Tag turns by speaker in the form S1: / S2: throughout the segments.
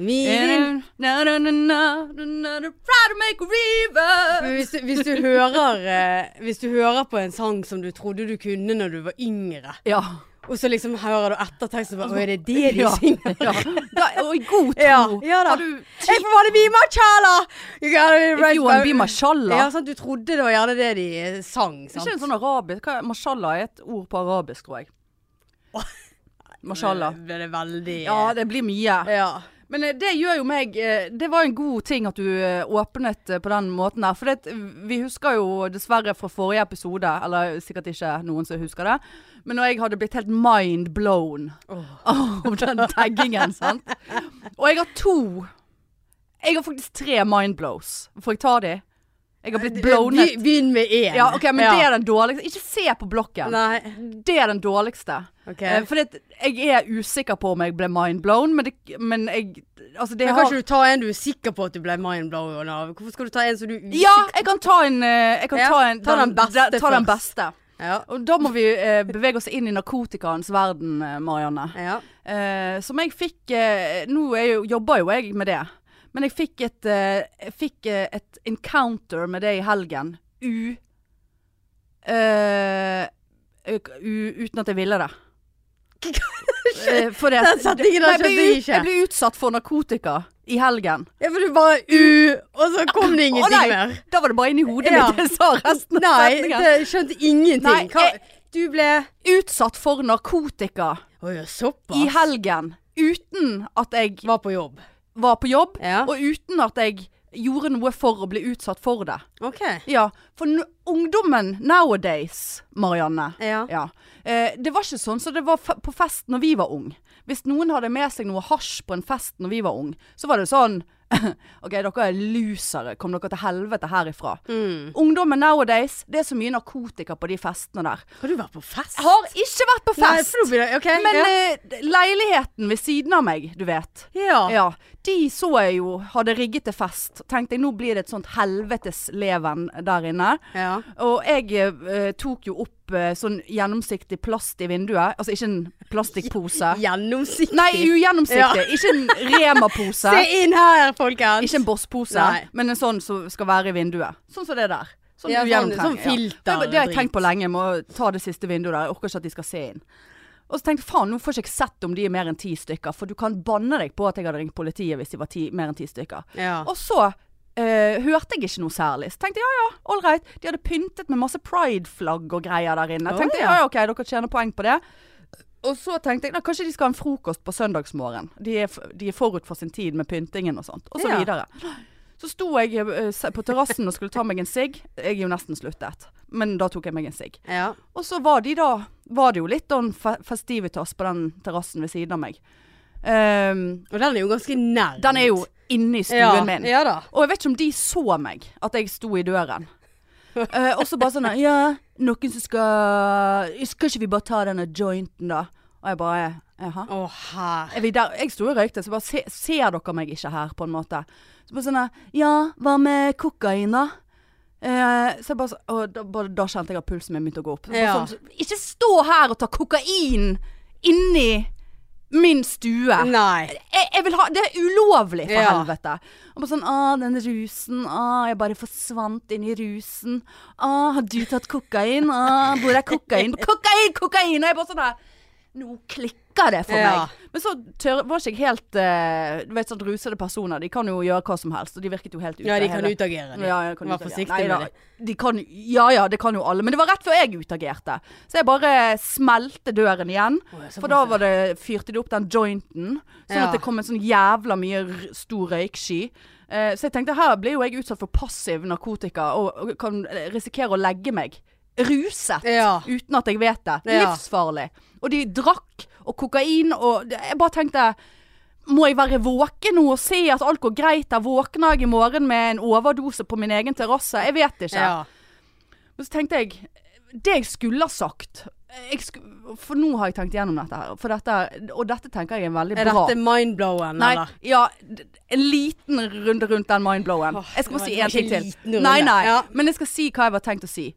S1: Men
S2: And na na na na na na na. Try to make a river.
S1: hvis du, hvis, du hører, eh, hvis du hører på en sang som du trodde du kunne når du var yngre,
S2: Ja.
S1: og så liksom hører du etter teksten og bare Å, er det det de
S2: Ja.
S1: synger?
S2: ja. Da, og i god tro.
S1: Ja, ja da.
S2: Har du
S1: Hey, for wanna be my chala! You gotta
S2: If you wanna be my
S1: Ja,
S2: shallah.
S1: sant, du trodde det var gjerne det de eh, sang,
S2: Det er ikke
S1: sant?
S2: en sånn arabisk hva, Mashallah er et ord på arabisk, tror jeg. Mashallah.
S1: Det ble det veldig eh,
S2: Ja, det blir mye.
S1: ja.
S2: Men eh, det gjør jo meg eh, Det var en god ting at du eh, åpnet eh, på den måten der. For det, vi husker jo dessverre fra forrige episode, eller sikkert ikke noen som husker det, men når jeg hadde blitt helt mind blown av den taggingen, sant. Og jeg har to Jeg har faktisk tre mind blows. Får jeg ta de? Jeg har blitt blownet.
S1: Be- Begynn med én.
S2: Ja, ok, men det er den dårligste. Ikke se på blokken.
S1: Nei.
S2: Det er den dårligste.
S1: OK.
S2: Eh, For det, jeg er usikker på om jeg ble mindblown, men, det, men jeg Altså, det
S1: Men
S2: har
S1: kan ikke du ta en du er sikker på at du ble mindblown av? Hvorfor skal du ta en som du er
S2: Ja, jeg kan ta en eh, Jeg kan
S1: Ja,
S2: ta en
S1: ta den beste
S2: da- ta den
S1: først.
S2: beste.
S1: Ja.
S2: Og da må vi eh, bevege oss inn i narkotikaens verden, eh, Marianne.
S1: ja.
S2: Eh, som jeg fikk eh, Nå er jo, jobber jo jeg med det. Men jeg fikk et, eh, jeg fikk, eh, et encounter med det i helgen. U, eh, øk- u Uten at jeg ville det. Eh, for det,
S1: Den setningen
S2: Nei,
S1: der
S2: jeg ble
S1: skjønte jeg
S2: ut-
S1: ikke.
S2: Jeg ble utsatt for narkotika i helgen.
S1: ja, for du bare u, og så kom det
S2: Å
S1: ingenting
S2: nei,
S1: mer.
S2: da var det bare inni hodet
S1: Ja.
S2: mitt jeg sa resten av
S1: Nei,
S2: setningen.
S1: det skjønte
S2: Nei,
S1: ingenting. Hva,
S2: jeg-
S1: du ble Å
S2: Utsatt for narkotika
S1: ja, såpass.
S2: i helgen. Uten at jeg
S1: Var på jobb.
S2: var på jobb,
S1: Ja.
S2: og uten at jeg gjorde noe for å bli utsatt for det.
S1: OK.
S2: Ja, for n ungdommen nowadays, Marianne
S1: Ja.
S2: ja. Eh, Det var ikke sånn som det var fe- på fest når vi var ung Hvis noen hadde med seg noe hasj på en fest når vi var ung Så var det sånn Ok, dere er lusere, kom dere til helvete herifra
S1: Mm.
S2: Ungdommen nowadays, det er så mye narkotika på de festene der
S1: Har du vært på fest?
S2: Jeg har ikke vært på
S1: Nei,
S2: fest
S1: for nå blir det OK.
S2: Men
S1: ja.
S2: eh, leiligheten ved siden av meg, du vet
S1: ja.
S2: ja, de så jeg jo hadde rigget til fest Tenkte jeg, nå blir det et sånt helvetesleven der inne
S1: ja.
S2: og jeg eh, tok jo opp eh, sånn gjennomsiktig plast i vinduet. Altså ikke en plastikkpose.
S1: Gjennomsiktig.
S2: Nei, ugjennomsiktig. Ikke en Rema-pose.
S1: Se inn her, folkens.
S2: Ikke en Boss-pose,
S1: Nei.
S2: men en sånn som skal være i vinduet. Sånn som det der. Sånn
S1: Ja, sånn-
S2: ugjennomtrengelig,
S1: sånn filter-
S2: Ja. Det, det har jeg
S1: drit.
S2: tenkt på lenge. Jeg må ta det siste vinduet der. Jeg orker ikke at de skal se inn. Og så tenkte jeg faen, nå får ikke jeg sett om de er mer enn ti stykker. For du kan banne deg på at jeg hadde ringt politiet hvis de var ti, mer enn ti stykker.
S1: Ja.
S2: Og så eh, hørte jeg ikke noe særlig. Så tenkte jeg ja ja, all right. De hadde pyntet med masse pride-flagg og greier der inne.
S1: Å,
S2: tenkte jeg,
S1: ja.
S2: ja ja, ok, dere tjener poeng på det. Og så tenkte jeg nei, kanskje de skal ha en frokost på søndagsmorgen. De er, f- de er forut for sin tid med pyntingen og sånt. Og så
S1: Ja.
S2: videre. Så sto jeg eh, se- på terrassen og skulle ta meg en sigg. Jeg er jo nesten sluttet. Men da tok jeg meg en sigg.
S1: ja.
S2: Og så var de da Var det jo litt sånn fe- festivitas på den terrassen ved siden av meg. Ehm,
S1: Og den er jo ganske nær.
S2: den er jo inne i stuen
S1: ja.
S2: min.
S1: Ja da.
S2: Og jeg vet ikke om de så meg, at jeg sto i døren. Eh, og så bare sånn Ja, noen som skal Skal ikke vi bare ta denne jointen, da? Og jeg bare Jaha.
S1: Å, her.
S2: Er vi der? Jeg sto og røykte, så bare se, Ser dere meg ikke her, på en måte? Så bare sånn Ja, hva med kokain, da? Eh, så jeg bare, så- og da, bare, da kjente jeg at pulsen min begynte å gå opp. Så bare
S1: Ja.
S2: sånn, ikke stå her og ta kokain inni min stue!
S1: Nei.
S2: jeg, jeg vil ha Det er ulovlig, for
S1: Ja.
S2: helvete. Og bare sånn Å, den rusen. Å, jeg bare forsvant inn i rusen. Å, har du tatt kokain? Å, hvor er kokain? Kokain, kokain! Og jeg bare sånn der Nå klikker det for
S1: Ja.
S2: meg. Men så tør, var ikke jeg helt eh, Du vet sånn rusede personer, de kan jo gjøre hva som helst. Og de virket jo helt ute.
S1: Ja, de kan
S2: hele-
S1: utagere. de.
S2: ja, jeg kan
S1: Vær
S2: utagere.
S1: forsiktig
S2: Nei,
S1: med
S2: da,
S1: det.
S2: De kan, ja ja, det kan jo alle. Men det var rett før jeg utagerte. Så jeg bare smelte døren igjen.
S1: Å, ja, så
S2: for da var det, fyrte de opp den jointen. Sånn
S1: Ja.
S2: at det kom en sånn jævla mye r stor røyksky. Eh, så jeg tenkte her blir jo jeg utsatt for passiv narkotika og, og kan eh, risikere å legge meg. Ruset.
S1: Ja.
S2: Uten at jeg vet det.
S1: Ja.
S2: Livsfarlig. Og de drakk og kokain og Jeg bare tenkte må jeg være våken nå og se at alt går greit? Der våkner jeg i morgen med en overdose på min egen terrasse. Jeg vet ikke.
S1: Ja.
S2: Og så tenkte jeg Det jeg skulle ha sagt eh, jeg sku, For nå har jeg tenkt gjennom dette her. For dette, og dette tenker jeg er veldig
S1: Er
S2: bra.
S1: dette mindblowen,
S2: Nei,
S1: eller?
S2: ja, d- en liten runde rundt den mindblowen.
S1: Åh,
S2: Jeg skal
S1: det
S2: bare si
S1: var
S2: én ting
S1: ikke en
S2: til.
S1: liten runde.
S2: Nei, nei.
S1: Ja.
S2: Men jeg skal si hva jeg var tenkt å si.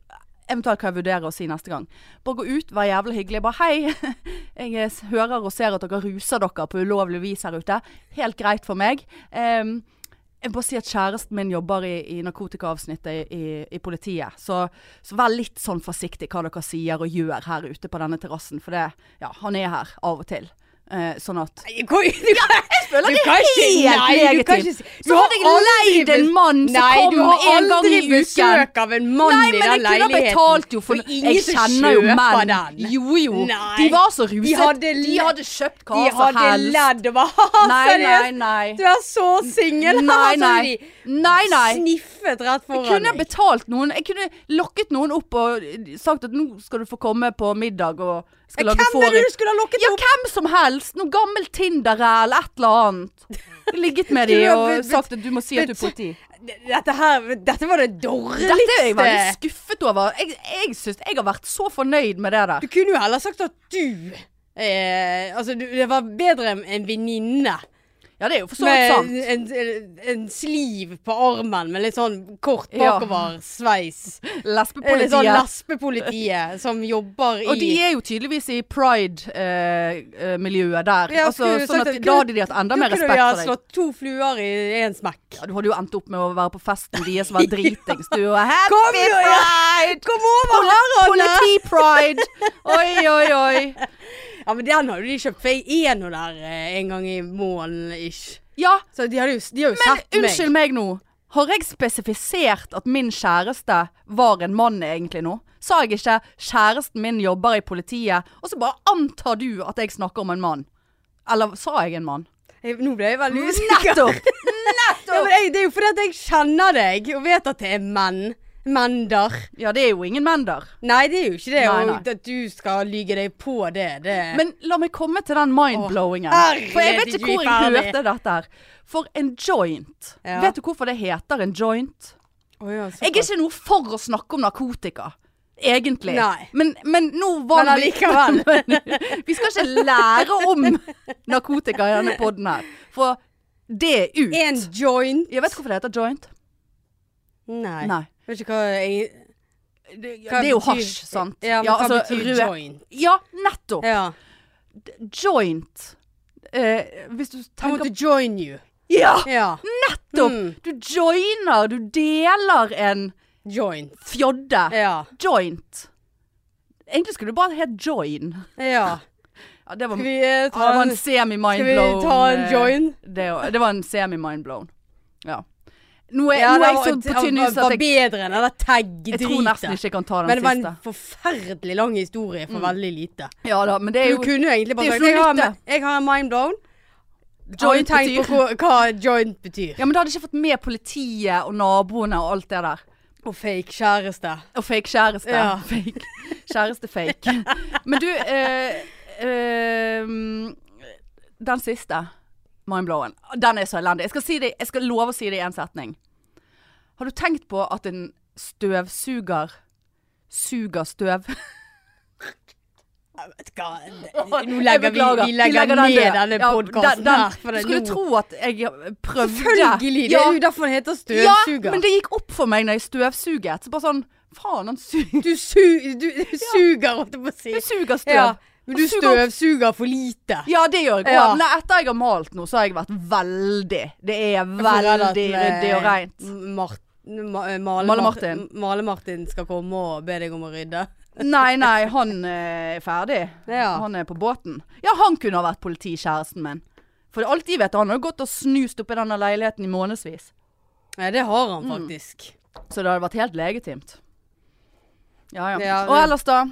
S2: Eventuelt hva jeg vurderer å si neste gang. Bare gå ut, vær jævlig hyggelig. Bare hei, jeg s- hører og ser at dere ruser dere på ulovlig vis her ute. Helt greit for meg. Ehm, jeg vil bare si at kjæresten min jobber i, i narkotikaavsnittet i, i, i politiet. Så, så vær litt sånn forsiktig hva dere sier og gjør her ute på denne terrassen. For det, ja, han er her av og til. Eh, sånn at
S1: Jeg går- Du
S2: føler
S1: Du
S2: det
S1: kan ikke-
S2: er
S1: nei,
S2: helt
S1: du kan
S2: legitimt.
S1: ikke si-
S2: Så
S1: Du har
S2: hadde jeg leid
S1: aldri
S2: en
S1: bes-
S2: mann som
S1: Nei, du
S2: kom en
S1: har
S2: gang i
S1: aldri
S2: uken.
S1: besøk av en mann
S2: Nei,
S1: i
S2: men jeg
S1: den
S2: kunne ha
S1: leiligheten.
S2: betalt jo for
S1: Det er ingen
S2: Jeg
S1: som
S2: kjenner jo
S1: kjøper
S2: menn.
S1: den.
S2: Jo jo.
S1: Nei.
S2: De var så ruset.
S1: De hadde
S2: De
S1: le-
S2: hadde kjøpt hva
S1: De
S2: som
S1: hadde
S2: helst.
S1: ledd og bare
S2: Nei, nei,
S1: Seriøst,
S2: nei.
S1: du er så singel! sånn
S2: Nei, nei. Nei, nei.
S1: Sniffet
S2: Jeg
S1: rett foran
S2: kunne
S1: deg.
S2: betalt noen. Jeg kunne lokket noen opp og eh, sagt at nå skal du få komme på middag og skal lage
S1: Hvem er det
S2: fårikål.
S1: du skulle ha lokket
S2: Ja,
S1: opp?
S2: hvem som helst. Noe gammel Tinder-ræl, et eller annet. Ligget med
S1: Du
S2: de
S1: har
S2: og
S1: bet-
S2: sagt at du må si at du er
S1: bet-
S2: politi.
S1: Dette her, dette var det dårligste.
S2: Dette er jeg veldig
S1: eh,
S2: skuffet over. Jeg, jeg syns jeg har vært så fornøyd med det der.
S1: Du kunne jo heller sagt at du eh, Altså, du, det var bedre enn en venninne.
S2: Ja, det er jo for så vidt
S1: Med
S2: sant.
S1: en, en, en sliv på armen med litt sånn kort
S2: Ja.
S1: bakover sveis. Eh, Litt sånn
S2: Lesbepolitiet.
S1: lesbepolitiet som jobber i
S2: Og de er jo tydeligvis i pride-miljøet der.
S1: Ja,
S2: altså,
S1: skulle du
S2: sånn
S1: sagt
S2: at
S1: at-
S2: Da hadde de hatt enda mer
S1: Da
S2: respekt
S1: kunne vi ha
S2: for deg.
S1: slått to fluer i én smekk.
S2: Ja, du hadde jo endt opp med å være på festen deres som var dritings. Du og happy
S1: Kom jo, ja.
S2: pride!
S1: Kom over her, Anne!
S2: Politi-pride! Oi, oi, oi.
S1: Ja, men den hadde de kjøpt, for jeg er nå der eh, en gang i måneden ish.
S2: Ja,
S1: Så de, hadde jo, de har jo
S2: men
S1: sett meg.
S2: unnskyld meg nå. Har jeg spesifisert at min kjæreste var en mann egentlig nå? Sa jeg ikke 'kjæresten min jobber i politiet', og så bare antar du at jeg snakker om en mann? Eller sa jeg en mann?
S1: Jeg- Nå ble jeg veldig usikker.
S2: Nettopp!
S1: Ja, men jeg, det er jo fordi at jeg kjenner deg og vet at det er menn. Mender.
S2: Ja, det er jo ingen menn der.
S1: Nei, det er jo ikke det.
S2: Nei,
S1: og
S2: nei.
S1: At du skal lyge deg på det, det
S2: Men la meg komme til den mindblowingen.
S1: Åh, herregud,
S2: For jeg vet ikke hvor jeg
S1: ferdig.
S2: hørte dette her. For en joint.
S1: Ja.
S2: Vet du hvorfor det heter en joint?
S1: Å ja, såpass.
S2: Jeg er ikke noe for å snakke om narkotika. Egentlig.
S1: Nei.
S2: Men, men nå var
S1: Men
S2: vi-
S1: allikevel.
S2: Vi skal ikke lære om narkotika i denne poden her. For det er ut.
S1: En joint.
S2: Jeg vet hvorfor det heter joint.
S1: Nei.
S2: Nei.
S1: Vet ikke hva jeg
S2: Det,
S1: hva
S2: er jo
S1: betyr-
S2: hasj, sant?
S1: Ja, men hva
S2: altså,
S1: betyr
S2: rød-
S1: joint?
S2: Ja, nettopp.
S1: Ja.
S2: Joint. Eh, hvis du
S1: I want
S2: tenker
S1: to join you.
S2: Ja!
S1: Ja.
S2: Nettopp!
S1: Mm.
S2: Du joiner, du deler en
S1: Joint.
S2: fjodde.
S1: Ja.
S2: Joint. Egentlig skulle du bare hett join.
S1: ja.
S2: Ja, det var,
S1: Skal vi
S2: ja,
S1: eh,
S2: det
S1: ta
S2: var
S1: en
S2: en
S1: Skal vi
S2: semi-mindblown.
S1: ta en
S2: eh,
S1: join?
S2: Det, var- det var en semi-mindblown. Ja. Nå er,
S1: Ja,
S2: nå er jeg
S1: var-
S2: så på tynn is at
S1: var- var
S2: jeg,
S1: bedre enn den
S2: jeg tror nesten
S1: tagg-driten.
S2: ikke jeg kan ta
S1: Men
S2: den
S1: det var en
S2: siste.
S1: forferdelig lang historie for veldig lite.
S2: Ja da, men det er
S1: Du
S2: jo
S1: kunne jo egentlig bare
S2: det er jo
S1: sagt
S2: ikke
S1: jeg
S2: noe
S1: har, jeg har en mind blown. Har du
S2: joint
S1: tenkt på
S2: betyr.
S1: hva, hva joint betyr?
S2: Ja, men da hadde jeg ikke fått med politiet og naboene og alt det der.
S1: Og fake kjæreste.
S2: Og fake kjæreste.
S1: Ja.
S2: Fake. Kjæreste fake. Men du eh, eh, Den siste, mindblowen, den er så elendig. Jeg skal, si det, jeg skal love å si det i én setning. Har du tenkt på at en støvsuger suger støv?
S1: Jeg vet ikke hva, Nå legger vi, vi legger ned denne podkasten her. For
S2: du
S1: det,
S2: skulle
S1: nå-
S2: tro at jeg prøvde.
S1: Selvfølgelig! Det
S2: Ja,
S1: er jo derfor den heter
S2: ja,
S1: støvsuger.
S2: men det gikk opp for meg når jeg støvsuget. Så bare sånn Faen, han suger,
S1: Du, su, du, du suger, holdt jeg på å si.
S2: suger støv.
S1: Ja, men du
S2: Han suger opp
S1: støvsuger for lite.
S2: Ja, det gjør jeg òg.
S1: Ja.
S2: Men etter jeg har malt nå, så har jeg vært veldig Det er
S1: Jeg får redd at,
S2: veldig ryddig og
S1: eh,
S2: reint.
S1: Mart, ma, eh, Male,
S2: Male
S1: Mart-
S2: Martin.
S1: Male Martin skal komme og be deg om å rydde.
S2: Nei, nei, han eh, er ferdig.
S1: Ja.
S2: Han er på båten. Ja, han kunne ha vært politikjæresten min. For alt de vet, han har jo gått og snust oppi denne leiligheten i månedsvis.
S1: Ja, det har han
S2: Mm.
S1: faktisk.
S2: Så det hadde vært helt legitimt. Ja, ja.
S1: Ja,
S2: og
S1: det-
S2: ellers, da?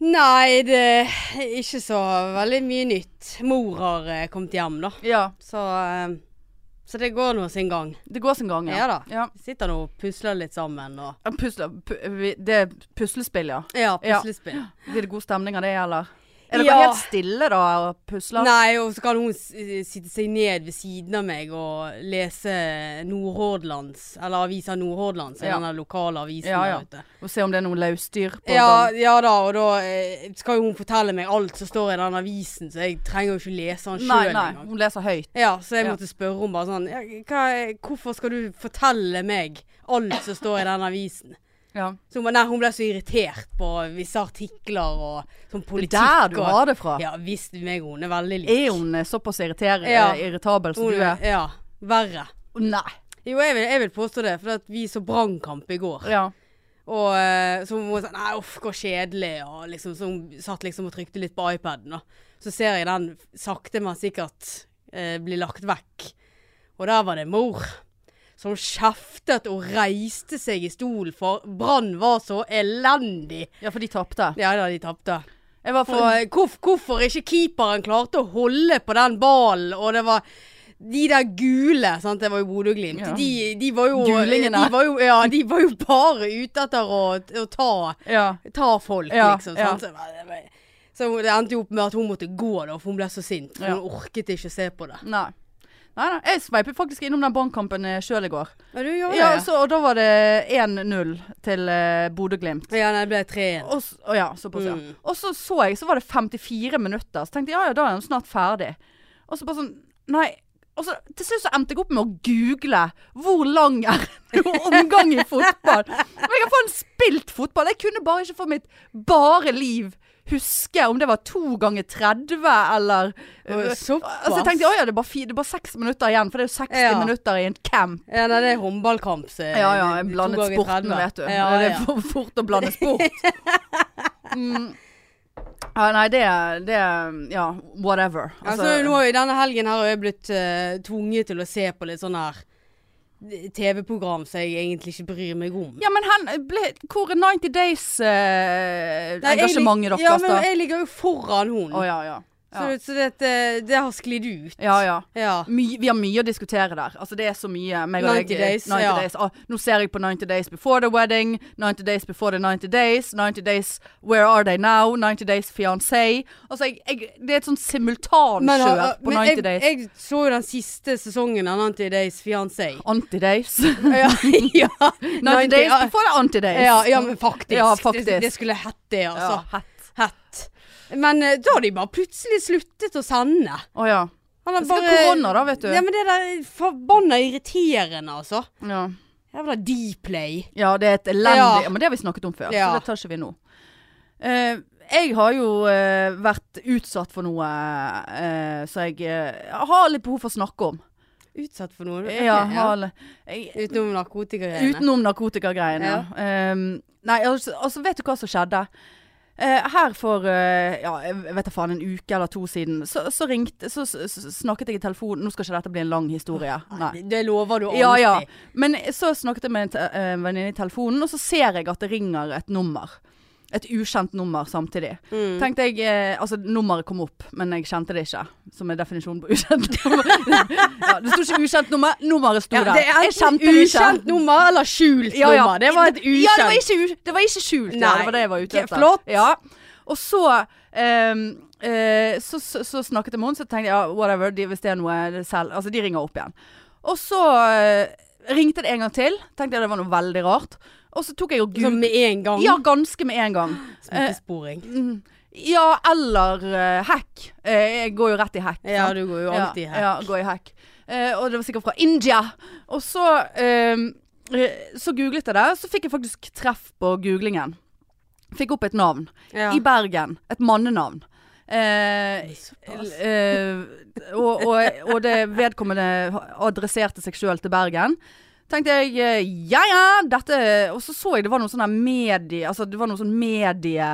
S1: Nei, det er ikke så veldig mye nytt. Mor har eh, kommet hjem, da.
S2: Ja.
S1: Så, eh, så det går nå sin gang.
S2: Det går sin gang, ja.
S1: Ja da.
S2: Ja.
S1: Vi sitter nå og pusler litt sammen og
S2: Pusle, pu, vi- det er puslespill, ja.
S1: Ja,
S2: Ja.
S1: puslespill.
S2: Blir det god stemning av det, eller?
S1: Ja,
S2: Er dere
S1: Ja.
S2: helt stille da og pusler?
S1: Nei, og så kan hun s- sitte seg ned ved siden av meg og lese Nordhordlands, eller avisa Nordhordland, som er
S2: Ja.
S1: den der lokale avisen
S2: Ja,
S1: der
S2: ja.
S1: ute.
S2: Og se om det er noe løsdyr på
S1: Ja,
S2: gang.
S1: ja da, og da eh, skal jo hun fortelle meg alt som står i den avisen, så jeg trenger jo ikke lese den
S2: Nei,
S1: sjøl
S2: nei.
S1: engang.
S2: Hun leser høyt.
S1: Ja, så jeg
S2: Ja.
S1: måtte spørre henne bare sånn ja, hva, er- Hvorfor skal du fortelle meg alt som står i den avisen?
S2: Ja.
S1: Så hun, bare, nei, hun ble så irritert på visse artikler og sånn politikk.
S2: Der du
S1: og-
S2: har det fra.
S1: Ja visst, meg og hun er veldig lik.
S2: Er hun eh, såpass irriter
S1: Ja.
S2: eh, irritabel som
S1: Hun
S2: du er?
S1: Ja, verre.
S2: Nei.
S1: Jo, jeg vil, jeg vil påstå det, for at vi så brannkamp i går.
S2: Ja.
S1: Og eh, så må hun sånn Nei, uff, hvor kjedelig. Og liksom, så hun satt liksom og trykte litt på iPaden. Da. Så ser jeg den sakte, men sikkert eh, bli lagt vekk. Og der var det mor. Som kjeftet og reiste seg i stolen, for Brann var så elendig.
S2: ja, for de tapte.
S1: Ja da, de tapte.
S2: Jeg var
S1: For
S2: for
S1: hvorf, hvorfor ikke keeperen klarte å holde på den ballen, og det var de der gule, sant, det var jo Bodø-Glimt.
S2: Ja.
S1: De, de var jo
S2: Gulingene.
S1: De var jo, ja, de var jo bare ute etter å, å ta,
S2: Ja.
S1: ta folk,
S2: Ja,
S1: liksom.
S2: ja.
S1: Sant? Så det var- Så det endte jo opp med at hun måtte gå, da, for hun ble så sint. For
S2: Ja.
S1: Hun orket ikke å se på det.
S2: Nei. Nei, nei. Jeg sveipet faktisk innom den brannkampen sjøl i går.
S1: Ja, du gjør det.
S2: Ja,
S1: Ja,
S2: så, og da var det 1-0 til eh, Bodø-Glimt.
S1: ja nei, det ble 3-1.
S2: Og, s- å ja, såpass, ja.
S1: Mm.
S2: Og så så jeg, så var det 54 minutter. Så tenkte jeg ja ja, da er han snart ferdig. Og så bare sånn Nei. Og så til slutt så endte jeg opp med å google hvor lang er en omgang i fotball. Men jeg har faen spilt fotball. Jeg kunne bare ikke for mitt bare liv huske om det var to ganger 30 eller
S1: Oi, såpass.
S2: Altså jeg tenkte ja ja, det er bare, fi, det er bare seks minutter igjen, for det er jo 60
S1: Ja.
S2: minutter i en camp.
S1: Ja, nei, det er håndballkamp. så-
S2: Ja ja, jeg
S1: Eh, to
S2: blandet
S1: ganger
S2: sporten,
S1: 30.
S2: vet du.
S1: Ja,
S2: det
S1: ja.
S2: er for fort å blande sport. Mm. Ja, nei, det, det Ja, whatever.
S1: Altså, nå har jo denne helgen her har jeg blitt eh, tvunget til å se på litt sånn her eh, TV-program som jeg egentlig ikke bryr meg om.
S2: ja, men hen, ble, hvor er 90
S1: Nei, jeg
S2: Days-engasjementet
S1: lig-
S2: deres,
S1: Ja,
S2: da?
S1: men jeg ligger jo foran hun.
S2: Å ja, ja.
S1: Så,
S2: Ja.
S1: så det, det, det har sklidd ut.
S2: ja, ja.
S1: Ja.
S2: My, vi har mye å diskutere der. Altså, det er så mye. meg og
S1: 90 Days,
S2: 90
S1: ja.
S2: days. Ah, nå ser jeg på 90 Days Before The Wedding, 90 Days Before The 90 Days, 90 Days Where Are They Now, 90 Days Fiancé. Altså, jeg, jeg, det er et sånt
S1: Men,
S2: simultankjør
S1: har-
S2: på
S1: men
S2: 90
S1: jeg,
S2: Days.
S1: jeg så jo den siste sesongen av 90 Days Fiancé.
S2: Anti-days.
S1: ja, ja.
S2: 90 days before the anti-days.
S1: Ja, ja, men faktisk.
S2: Ja, faktisk.
S1: Det, det skulle hett det, altså.
S2: Ja, hett.
S1: Hett. Men eh, da har de bare plutselig sluttet å sende.
S2: Å ja.
S1: Han har
S2: Det skal korona da, vet du.
S1: Ja, men det der er forbanna irriterende, altså.
S2: ja.
S1: Jævla Dplay.
S2: Ja, det er et elendig
S1: Ja.
S2: ja. Men det har vi snakket om før,
S1: Ja.
S2: så det tar ikke vi nå. Eh, jeg har jo eh, vært utsatt for noe eh, så jeg eh, har litt behov for å snakke om.
S1: Utsatt for noe?
S2: ja,
S1: Ok,
S2: har li- jeg,
S1: Utenom narkotikagreiene?
S2: utenom narkotikagreiene.
S1: Ja.
S2: Eh, nei, altså, altså, vet du hva som skjedde? Eh, her for eh, ja, jeg vet da faen, en uke eller to siden, så, så ringte Så, så, så snakket jeg i telefonen Nå skal ikke dette bli en lang historie. Nei.
S1: Det- Det lover du alltid.
S2: Ja, ja. Men så snakket jeg med en te- eh, venninne i telefonen, og så ser jeg at det ringer et nummer. Et ukjent nummer samtidig.
S1: Mm.
S2: Tenkte jeg, eh, altså Nummeret kom opp, men jeg kjente det ikke. Som er definisjonen på ukjent nummer. ja, det sto ikke ukjent nummer, nummeret sto
S1: Ja,
S2: der.
S1: det er
S2: Jeg kjente
S1: enten
S2: det ikke.
S1: ukjent nummer eller skjult
S2: Ja, ja.
S1: nummer. Det var et ukjent.
S2: Ja, det var ikke, u- det var ikke skjult. Ja,
S1: Nei.
S2: det var det jeg var ute
S1: Ja,
S2: etter.
S1: flott.
S2: Ja. Og så, ehm, eh, så, så, så snakket jeg med henne, så tenkte jeg ja, whatever, de, hvis det er noe det er selv Altså, de ringer opp igjen. Og så eh, ringte det en gang til. Tenkte jeg det var noe veldig rart. Og så tok jeg og
S1: Som
S2: googlet
S1: med en gang.
S2: Ja, ganske med en gang.
S1: Smittesporing.
S2: Mm. Ja, eller eh, hack. Eh, jeg går jo rett i hack.
S1: Ja, du går jo alltid
S2: ja,
S1: her.
S2: Ja, gå i hack. Eh, og det var sikkert fra India. Og så, ehm, eh, så googlet jeg det, så fikk jeg faktisk treff på googlingen. Fikk opp et navn.
S1: Ja.
S2: I Bergen. Et mannenavn. Eh,
S1: Såpass.
S2: eh, og, og, og det vedkommende adresserte seg sjøl til Bergen. Tenkte jeg eh, ja ja, dette Og så så jeg det var noe sånn her medie... Altså det var noe sånn medie...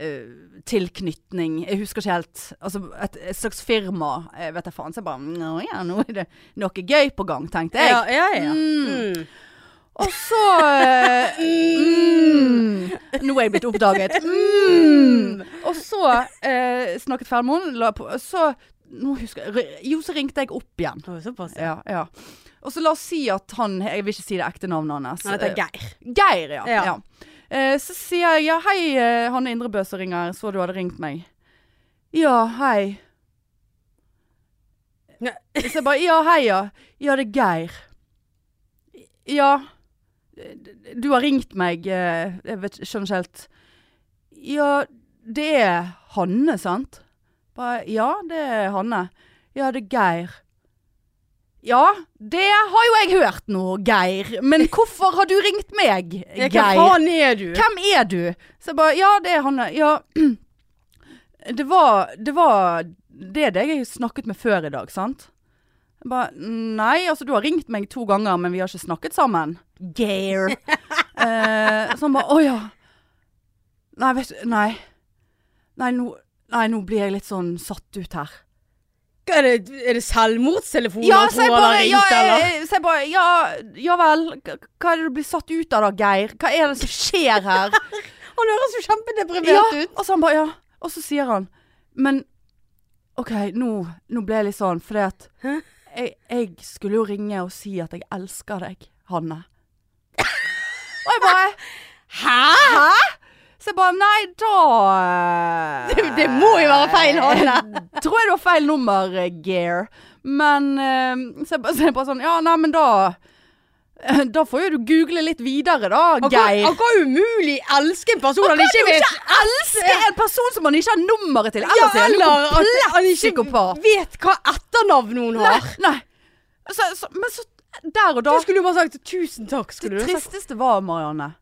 S2: eh, tilknytning Jeg husker ikke helt. Altså et, et slags firma. Jeg vet da faen. Så jeg bare Nå ja, nå er det noe gøy på gang, tenkte jeg.
S1: Ja, ja, ja.
S2: Mm.
S1: Mm.
S2: Og så eh, mm, Nå er jeg blitt oppdaget. Mm. Og så eh, snakket ferdig med henne. la på- Så nå husker jeg, ri- Jo, så ringte jeg opp igjen.
S1: Å, Såpass, ja.
S2: Ja, ja. Og så la oss si at han Jeg vil ikke si det ekte navnet hans.
S1: Han heter
S2: Eh,
S1: Geir.
S2: Geir, ja.
S1: Ja.
S2: ja. Eh, så sier jeg ja, hei, eh, Hanne Indrebø som ringer. Så du hadde ringt meg. Ja, hei.
S1: Nei.
S2: Så jeg bare Ja, hei, ja. Ja, det er Geir. Ja. Du har ringt meg. eh, Jeg vet, skjønner ikke helt. Ja, det er Hanne, sant? Bare, ja, det er Hanne. Ja, det er Geir. Ja, det har jo jeg hørt nå, Geir. Men hvorfor har du ringt meg,
S1: Ja, Hvem
S2: Eh, Geir?
S1: faen er du?
S2: Hvem er du? Så jeg bare, ja, det er Hanne. Ja, det var, det var det er deg jeg snakket med før i dag, sant? Jeg bare, nei, altså du har ringt meg to ganger, men vi har ikke snakket sammen. Geir. eh, så han bare, åja. Nei, vet du, nei. Nei nå, nei, nå blir jeg litt sånn satt ut her.
S1: Hva Er det, er det selvmordstelefonen
S2: Ja,
S1: han
S2: så jeg
S1: tror han har
S2: bare, ja,
S1: ringt, eller?
S2: eh, så jeg bare ja, ja vel, hva hva er det du blir satt ut av da, Geir? Hva er det som skjer her?
S1: Han høres jo kjempedeprimert ut.
S2: Og så han bare, ja. Og så sier han, men OK, nå, nå ble jeg litt sånn, fordi at
S1: Hæ?
S2: jeg, jeg skulle jo ringe og si at jeg elsker deg, Hanne. og jeg bare
S1: Hæ?
S2: Så jeg bare Nei, da
S1: Det, det må jo være feil,
S2: Eh,
S1: Hanne.
S2: Tror jeg det var feil nummer, eh, Gear. Men eh, så, jeg, bare- så jeg bare sånn Ja, nei, men da eh, Da får jo du google litt videre, da,
S1: Han kan,
S2: Geir.
S1: han kan umulig elske en person han,
S2: Kan
S1: ikke
S2: du
S1: vet
S2: ikke elske en person som man ikke har nummeret til?
S1: Ja,
S2: Ellers er
S1: eller
S2: han
S1: at
S2: jo komplett
S1: han ikke
S2: psykopat.
S1: vet hva etternavn hun
S2: Nei.
S1: har.
S2: nei. Så, så, men så Der og da
S1: Da skulle du bare sagt 'tusen takk'. skulle
S2: Det
S1: du ha sagt.
S2: tristeste var, Marianne,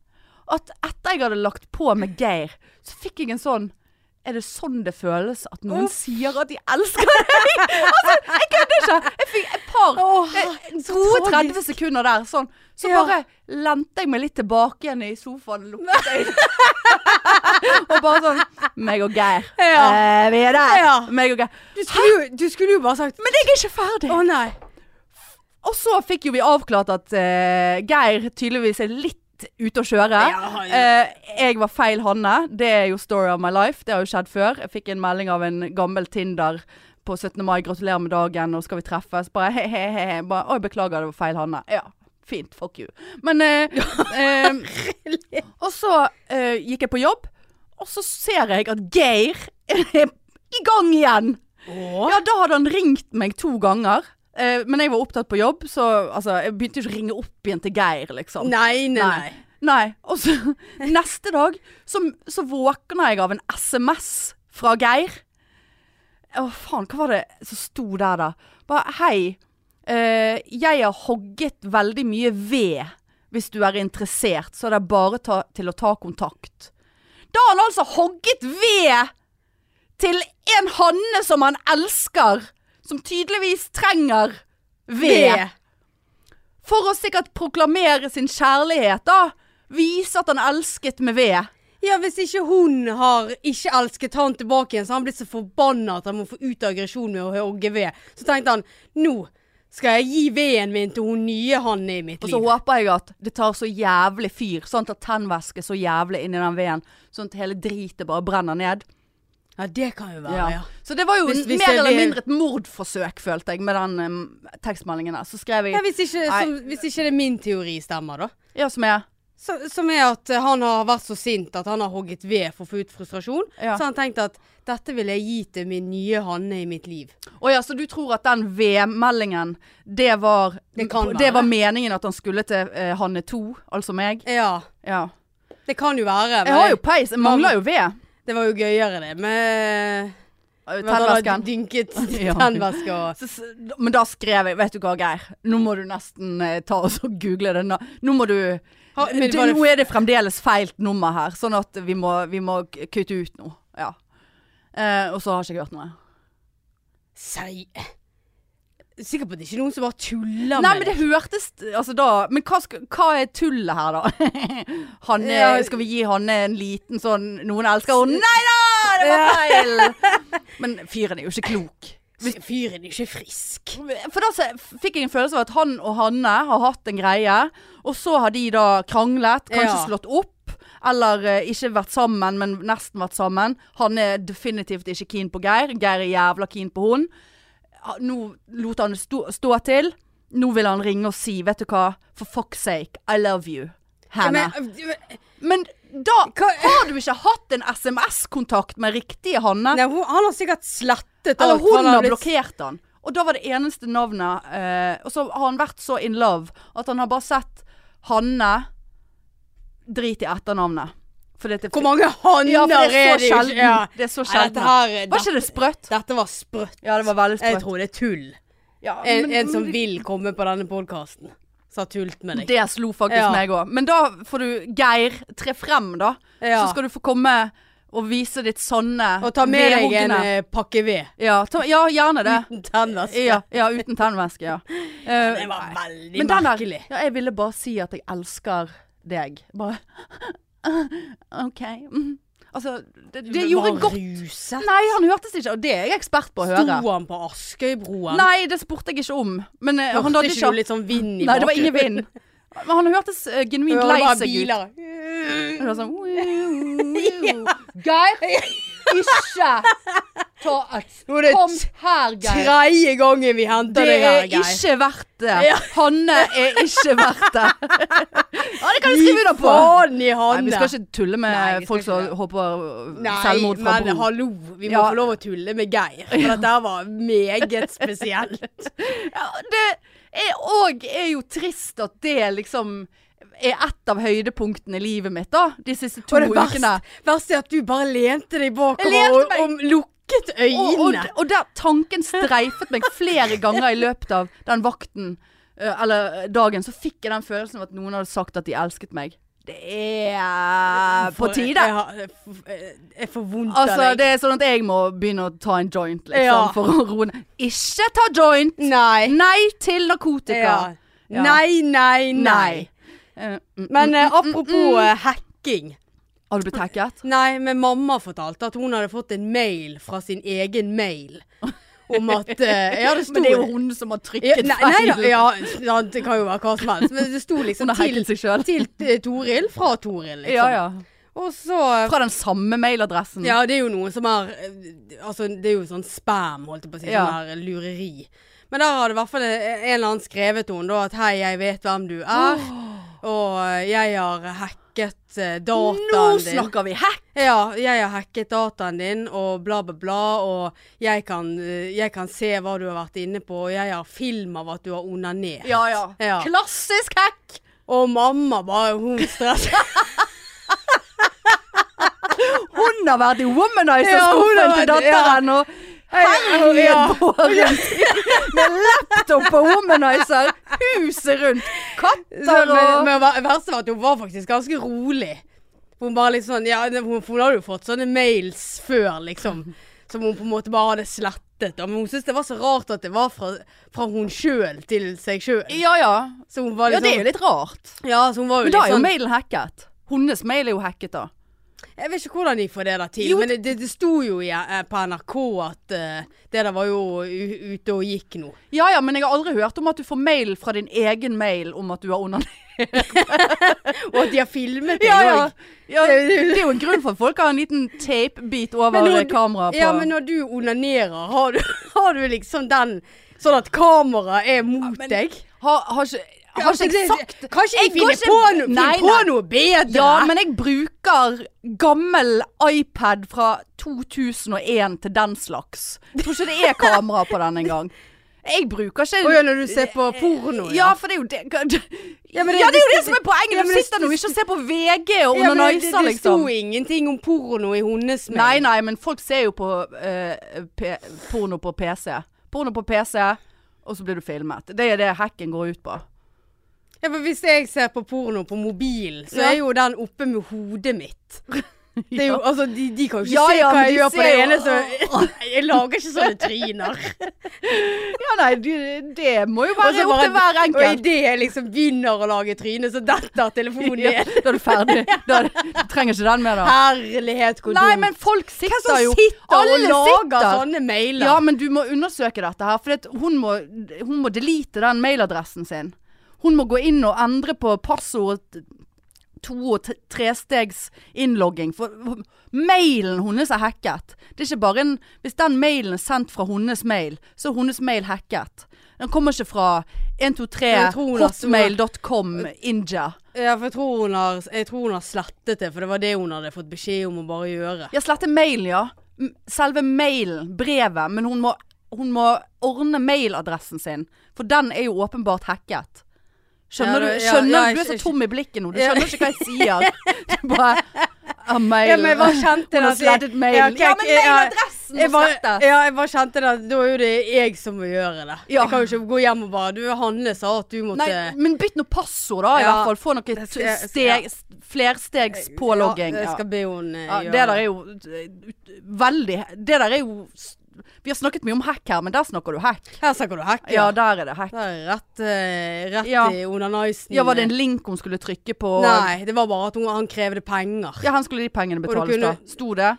S2: at etter jeg hadde lagt på med Geir, så fikk jeg en sånn Er det sånn det føles at noen
S1: Uff.
S2: sier at de elsker deg? altså, jeg kødder ikke! Jeg fikk et par
S1: Åh,
S2: eh,
S1: så
S2: gode
S1: tragisk.
S2: 30 sekunder der, sånn. Så
S1: Ja.
S2: bare lente jeg meg litt tilbake igjen i sofaen, lukket øynene. og bare sånn Meg og Geir.
S1: Ja.
S2: Eh, vi er der.
S1: Ja.
S2: Meg og Geir.
S1: Du skulle, jo, du skulle jo bare sagt
S2: Men jeg er ikke ferdig.
S1: Å nei.
S2: Og så fikk jo vi avklart at eh, Geir tydeligvis er litt ute å kjøre.
S1: Ja, han-
S2: Eh, jeg var feil Hanne. Det er jo story of my life. Det har jo skjedd før. Jeg fikk en melding av en gammel Tinder på 17. mai. 'Gratulerer med dagen, nå skal vi treffes?' Bare he-he-he. Bare 'Oi, beklager, det var feil Hanne'. Ja, fint. Fuck you. Men eh, eh, Og så eh, gikk jeg på jobb, og så ser jeg at Geir er i gang igjen.
S1: Åh.
S2: Ja, da hadde han ringt meg to ganger. Eh, men jeg var opptatt på jobb, så altså, jeg begynte jo ikke å ringe opp igjen til Geir, liksom.
S1: Nei, nei, nei.
S2: Nei. Og så neste dag så, så våkna jeg av en SMS fra Geir. Å, faen, hva var det som sto der, da? Bare hei. eh, jeg har hogget veldig mye ved. Hvis du er interessert, så er det bare ta, til å ta kontakt. Da har han altså hogget ved til en hanne som han elsker, som tydeligvis trenger ved.
S1: Ved.
S2: For å sikkert proklamere sin kjærlighet, da. Vise at han elsket med ved.
S1: Ja, hvis ikke hun har ikke elsket han tilbake igjen, så har han blitt så forbanna at han må få ut aggresjon med å hogge ved. Så tenkte han nå skal jeg gi veden min til hun nye Hanne i mitt
S2: Og så
S1: liv.
S2: håper jeg at det tar så jævlig fyr, sånn at tennvæske så jævlig inn i den veden, sånn at hele dritet bare brenner ned.
S1: Ja, det kan jo være,
S2: Ja.
S1: ja.
S2: Så det var jo
S1: Hvis- hvis
S2: mer
S1: det
S2: eller
S1: blir-
S2: mindre et mordforsøk, følte jeg, med den em, tekstmeldingen der. Så skrev
S1: ja
S2: jeg
S1: hvis, ikke,
S2: Nei.
S1: som, hvis ikke det er min teori stemmer, da.
S2: Ja, som er
S1: Så, som er at eh, han har vært så sint at han har hogget ved for å få ut frustrasjon.
S2: Ja.
S1: Så han tenkte at dette vil jeg gi til min nye Hanne i mitt liv.
S2: Å ja, så du tror at den V-meldingen, det var
S1: Det kan være.
S2: var meningen at han skulle til eh, Hanne 2, altså meg?
S1: Ja,
S2: Ja.
S1: det kan jo være.
S2: Jeg har jo peis, jeg mangler jo ved. eh,
S1: Det var jo gøyere, det. eh, Med
S2: Tennvæsken.
S1: Dynket
S2: Ja.
S1: tennvæske og
S2: Så, s- men da skrev jeg Vet du hva, Geir? Nå må du nesten eh, ta og så google det. Nå, nå må du
S1: Ha- men
S2: det,
S1: var det-
S2: Nå er det fremdeles feil nummer her, sånn at vi må, vi må k- kutte ut nå. Ja. Eh, og så har ikke jeg hørt noe.
S1: Sei... Sikker på at det ikke er noen som bare
S2: Nei,
S1: tuller med
S2: men det hørtes Altså da Men hva, skal, hva er tullet her, da? Hanne,
S1: Ja.
S2: Skal vi gi Hanne en liten sånn Noen elsker henne? Nei da! Det var feil! Men fyren er jo ikke klok.
S1: det. Fyren er ikke frisk.
S2: For da så fikk jeg en følelse av at han og Hanne har hatt en greie, og så har de da kranglet, kanskje
S1: Ja.
S2: slått opp, eller eh, ikke vært sammen, men nesten vært sammen. Han er definitivt ikke keen på Geir. Geir er jævla keen på hun. Ha- Nå lot han det stå, stå til. Nå vil han ringe og si, vet du hva, for fuck's sake, I love you. henne.
S1: Ja, men, eh,
S2: Men da har du ikke hatt en SMS-kontakt med riktige Hanne.
S1: nei, hun, han har sikkert slettet
S2: Eller
S1: alt, for
S2: hun
S1: han har
S2: har
S1: blitt-
S2: blokkert han. Og da var det eneste navnet eh, Og så har han vært så in love at han har bare sett Hanne Drit i etternavnet. For det er
S1: Hvor mange hanner
S2: ja, for det er så
S1: det ikke?
S2: sjelden.
S1: Ja.
S2: Det er så
S1: Nei, dette
S2: sjelden.
S1: her
S2: Var ikke
S1: dette,
S2: det sprøtt?
S1: dette var sprøtt.
S2: Ja, det var veldig
S1: Jeg
S2: sprøtt.
S1: tror det er tull.
S2: Ja,
S1: En,
S2: men-
S1: en som vil komme på denne podkasten, sa tullt med deg.
S2: Det slo faktisk
S1: Ja.
S2: meg òg. Men da får du Geir tre frem, da. Så
S1: Ja.
S2: skal du få komme og vise ditt sanne
S1: Og ta med deg en
S2: vedhoggende.
S1: eh, pakke ved.
S2: ja, ta, ja, gjerne det.
S1: Tannvaske.
S2: Ja, ja, uten tannvæske, ja. Eh,
S1: Det var veldig
S2: men den der-
S1: merkelig.
S2: Ja, jeg ville bare si at jeg elsker deg. Bare OK. Mm. Altså, det, det gjorde
S1: Var
S2: godt.
S1: Ruset.
S2: Nei, han hørtes ikke, og det er jeg ekspert på å
S1: Sto
S2: høre.
S1: han på Askøybroen?
S2: Nei, det spurte jeg ikke om. Men eh, han
S1: Hørte
S2: hadde
S1: ikke
S2: ikke
S1: du litt sånn vind i
S2: Nei, det var ingen vind. Men han hørtes eh, genuint lei seg ut.
S1: ut.
S2: Og da sånn Geir, ikke ta et
S1: Nå er det
S2: Kom her, Geir.
S1: tredje gangen vi henter
S2: Det
S1: deg
S2: er
S1: her, Geir.
S2: ikke verdt det.
S1: Ja.
S2: Hanne er ikke verdt det. Ja, det kan du skrive under på.
S1: Faen i Hanne.
S2: Nei, vi skal ikke tulle med
S1: Nei, vi skal
S2: folk
S1: ikke
S2: som
S1: det.
S2: håper
S1: Nei,
S2: selvmord fra
S1: men
S2: bro.
S1: hallo, vi må
S2: Ja.
S1: få lov å tulle med Geir. For dette her var meget spesielt.
S2: Ja, det er òg er jo trist at det liksom er et av høydepunktene i livet mitt, da. De siste to
S1: Og det verste,
S2: ukene.
S1: verste er at du bare lente deg
S2: Jeg
S1: bakover
S2: lente
S1: og,
S2: meg.
S1: og lukket
S2: Og, og,
S1: øynene.
S2: og der tanken streifet meg flere ganger i løpet av den vakten eh, eller dagen, så fikk jeg den følelsen av at noen hadde sagt at de elsket meg. Det er på
S1: For-
S2: tide.
S1: Jeg, har- jeg f- jeg- jeg får vondt
S2: Altså,
S1: av deg.
S2: det er sånn at jeg må begynne å ta en joint, liksom,
S1: Ja.
S2: for å roe ned. Ikke ta joint!
S1: Nei.
S2: Nei til narkotika.
S1: Ja.
S2: Ja.
S1: Nei, nei, nei.
S2: Eh, mm,
S1: Men eh, apropos eh, hacking.
S2: har du blitt hacket?
S1: Nei, men mamma fortalte at hun hadde fått en mail fra sin egen mail om at eh, Ja, det sto
S2: Men det er jo hun som har
S1: Ja,
S2: trykket
S1: nei, nei, da, ja, sant, det kan jo være hva som helst. Men det sto liksom
S2: Hun har
S1: til,
S2: hacket seg selv.
S1: til eh, Toril fra Toril, liksom.
S2: Ja, ja.
S1: Og så eh,
S2: Fra den samme mailadressen.
S1: Ja, det er jo noe som er eh, Altså, det er jo sånn spam, holdt jeg på å si.
S2: Ja.
S1: Sånn her lureri. Men der hadde i hvert fall en en eller annen skrevet til henne da at hei, jeg vet hvem du er, og eh, jeg har hacket eh, dataen
S2: Nå
S1: din.
S2: snakker vi hack!
S1: Ja, jeg har hacket dataen din, og bla, bla, bla, og jeg kan, eh, jeg kan se hva du har vært inne på, og jeg har film av at du har onanert.
S2: Ja, ja.
S1: Ja.
S2: Klassisk hack!
S1: Og mamma bare, hun stresset.
S2: Hun har vært i
S1: Ja, hun
S2: womanizer-skuffen
S1: har
S2: til
S1: vært- ja.
S2: datteren og herjet båren med laptop og womanizer huset rundt.
S1: Så,
S2: Katter
S1: men,
S2: og
S1: men ver- verste var at hun var faktisk ganske rolig. Hun bare litt sånn, ja, hun, hun hadde jo fått sånne mails før, liksom. Som hun på en måte bare hadde slettet. da. Men hun syntes det var så rart at det var fra, fra hun sjøl til seg sjøl.
S2: Ja ja.
S1: Så hun var
S2: Ja,
S1: liksom
S2: det er jo litt rart.
S1: Ja, så hun var jo
S2: Men da er jo
S1: litt
S2: liksom-
S1: sånn
S2: mailen hacket. Hennes mail er jo hacket, da.
S1: Jeg vet ikke hvordan de får det der til,
S2: Jo,
S1: men det, det sto jo i, eh, på NRK at eh, det der var jo u ute og gikk nå.
S2: Ja ja, men jeg har aldri hørt om at du får mail fra din egen mail om at du har onanert.
S1: Og at de har filmet det
S2: Ja, ja.
S1: òg.
S2: ja, det er jo en grunn for at folk har en liten tapebit over
S1: Men når du-
S2: kameraet på
S1: Ja, men når du onanerer, har du, har du liksom den sånn at kameraet er mot
S2: men-
S1: deg?
S2: Har, har ikke har
S1: Altså,
S2: ikke jeg
S1: det-
S2: sagt
S1: Kanskje
S2: Jeg
S1: jeg,
S2: går
S1: finner
S2: ikke-
S1: på, no,
S2: Nei,
S1: finner på
S2: nei.
S1: noe bedre?
S2: Ja, men jeg bruker gammel iPad fra 2001 til den slags. Jeg tror ikke det er kamera på den engang. Jeg bruker ikke
S1: Å ja, når du ser på porno, ja.
S2: Ja, for det er jo det Ja,
S1: men det-
S2: det er jo det som er poenget.
S1: Ja, men
S2: Du
S1: det-
S2: sitter nå ikke og ser på VG og
S1: Ja, men det, det,
S2: onaniser,
S1: det sto
S2: liksom.
S1: ingenting om porno i hennes mail.
S2: Nei, nei, men folk ser jo på eh, p porno på PC. Porno på PC, og så blir du filmet. Det er det hacken går ut på.
S1: Ja, for hvis jeg ser på porno på mobilen, så
S2: Ja.
S1: er jo den oppe med hodet mitt. Det er jo, altså, de, de kan jo ikke
S2: Ja,
S1: se
S2: ja,
S1: hva
S2: men
S1: jeg
S2: de
S1: gjør på det
S2: ser jo-
S1: ene, så jeg lager ikke sånne tryner.
S2: Ja, nei, det, det må jo
S1: Og så
S2: være opp til hver
S1: og
S2: enkelt.
S1: idet jeg liksom begynner å lage tryne, så detter telefonen
S2: Ja,
S1: ned.
S2: da er du ferdig. Da er det, du trenger ikke den mer, da.
S1: Herlighet, hvor dumt.
S2: Nei, men folk
S1: Hvem
S2: sitter
S1: som
S2: jo
S1: sitter og
S2: Alle
S1: lager
S2: sitter.
S1: sånne mailer?
S2: Ja, men du må undersøke dette her. For at hun, må, hun må delete den mailadressen sin. Hun må gå inn og endre på passord t- to- og t- trestegs innlogging. For for mailen hennes er hacket. Det er ikke bare en Hvis den mailen er sendt fra hennes mail, så er hennes mail hacket. Den kommer ikke fra
S1: Jeg tror hun har-
S2: hotmail.com India.
S1: Ja, for jeg tror, hun har, jeg tror hun har slettet det, for det var det hun hadde fått beskjed om å bare gjøre.
S2: Ja, slette mail, ja. M- Selve mailen, brevet. Men hun må, hun må ordne mailadressen sin, for den er jo åpenbart hacket. Skjønner
S1: Ja,
S2: du?
S1: det- ja,
S2: Skjønner,
S1: ja, jeg-
S2: du er så
S1: jeg-
S2: tom i blikket nå. Du
S1: Ja.
S2: skjønner ikke hva jeg sier. Du bare ah, mailen.
S1: Ja, men jeg bare kjente
S2: Hun har
S1: at jeg-
S2: slettet
S1: Ja,
S2: mailen.
S1: ok,
S2: Ja, men
S1: jeg- ja,
S2: mailadressen
S1: Jeg
S2: må
S1: bare,
S2: slettes.
S1: ja, jeg bare kjente det. at Da er jo det jeg som må gjøre det.
S2: Ja.
S1: Jeg kan jo ikke gå hjem og bare Du, Hanne sa at du måtte
S2: Nei, men bytt noe passord, da. I
S1: Ja,
S2: hvert fall. Få noe
S1: det skal jeg-
S2: steg, flerstegspålogging.
S1: Ja,
S2: Ja.
S1: jeg skal be henne
S2: Ja, det
S1: gjøre
S2: der er jo eh, ut- veldig Det der er jo s- Vi har snakket mye om hack her, men der snakker du hack.
S1: Her snakker du hekk,
S2: Ja, der er det hack.
S1: Det er rett, eh, rett
S2: Ja.
S1: i onanisen.
S2: Ja, var det en link hun skulle trykke på?
S1: Nei, det var bare at hun, han krevde penger.
S2: Ja, her skulle de pengene
S1: du
S2: betales,
S1: kunne-
S2: da. Sto det?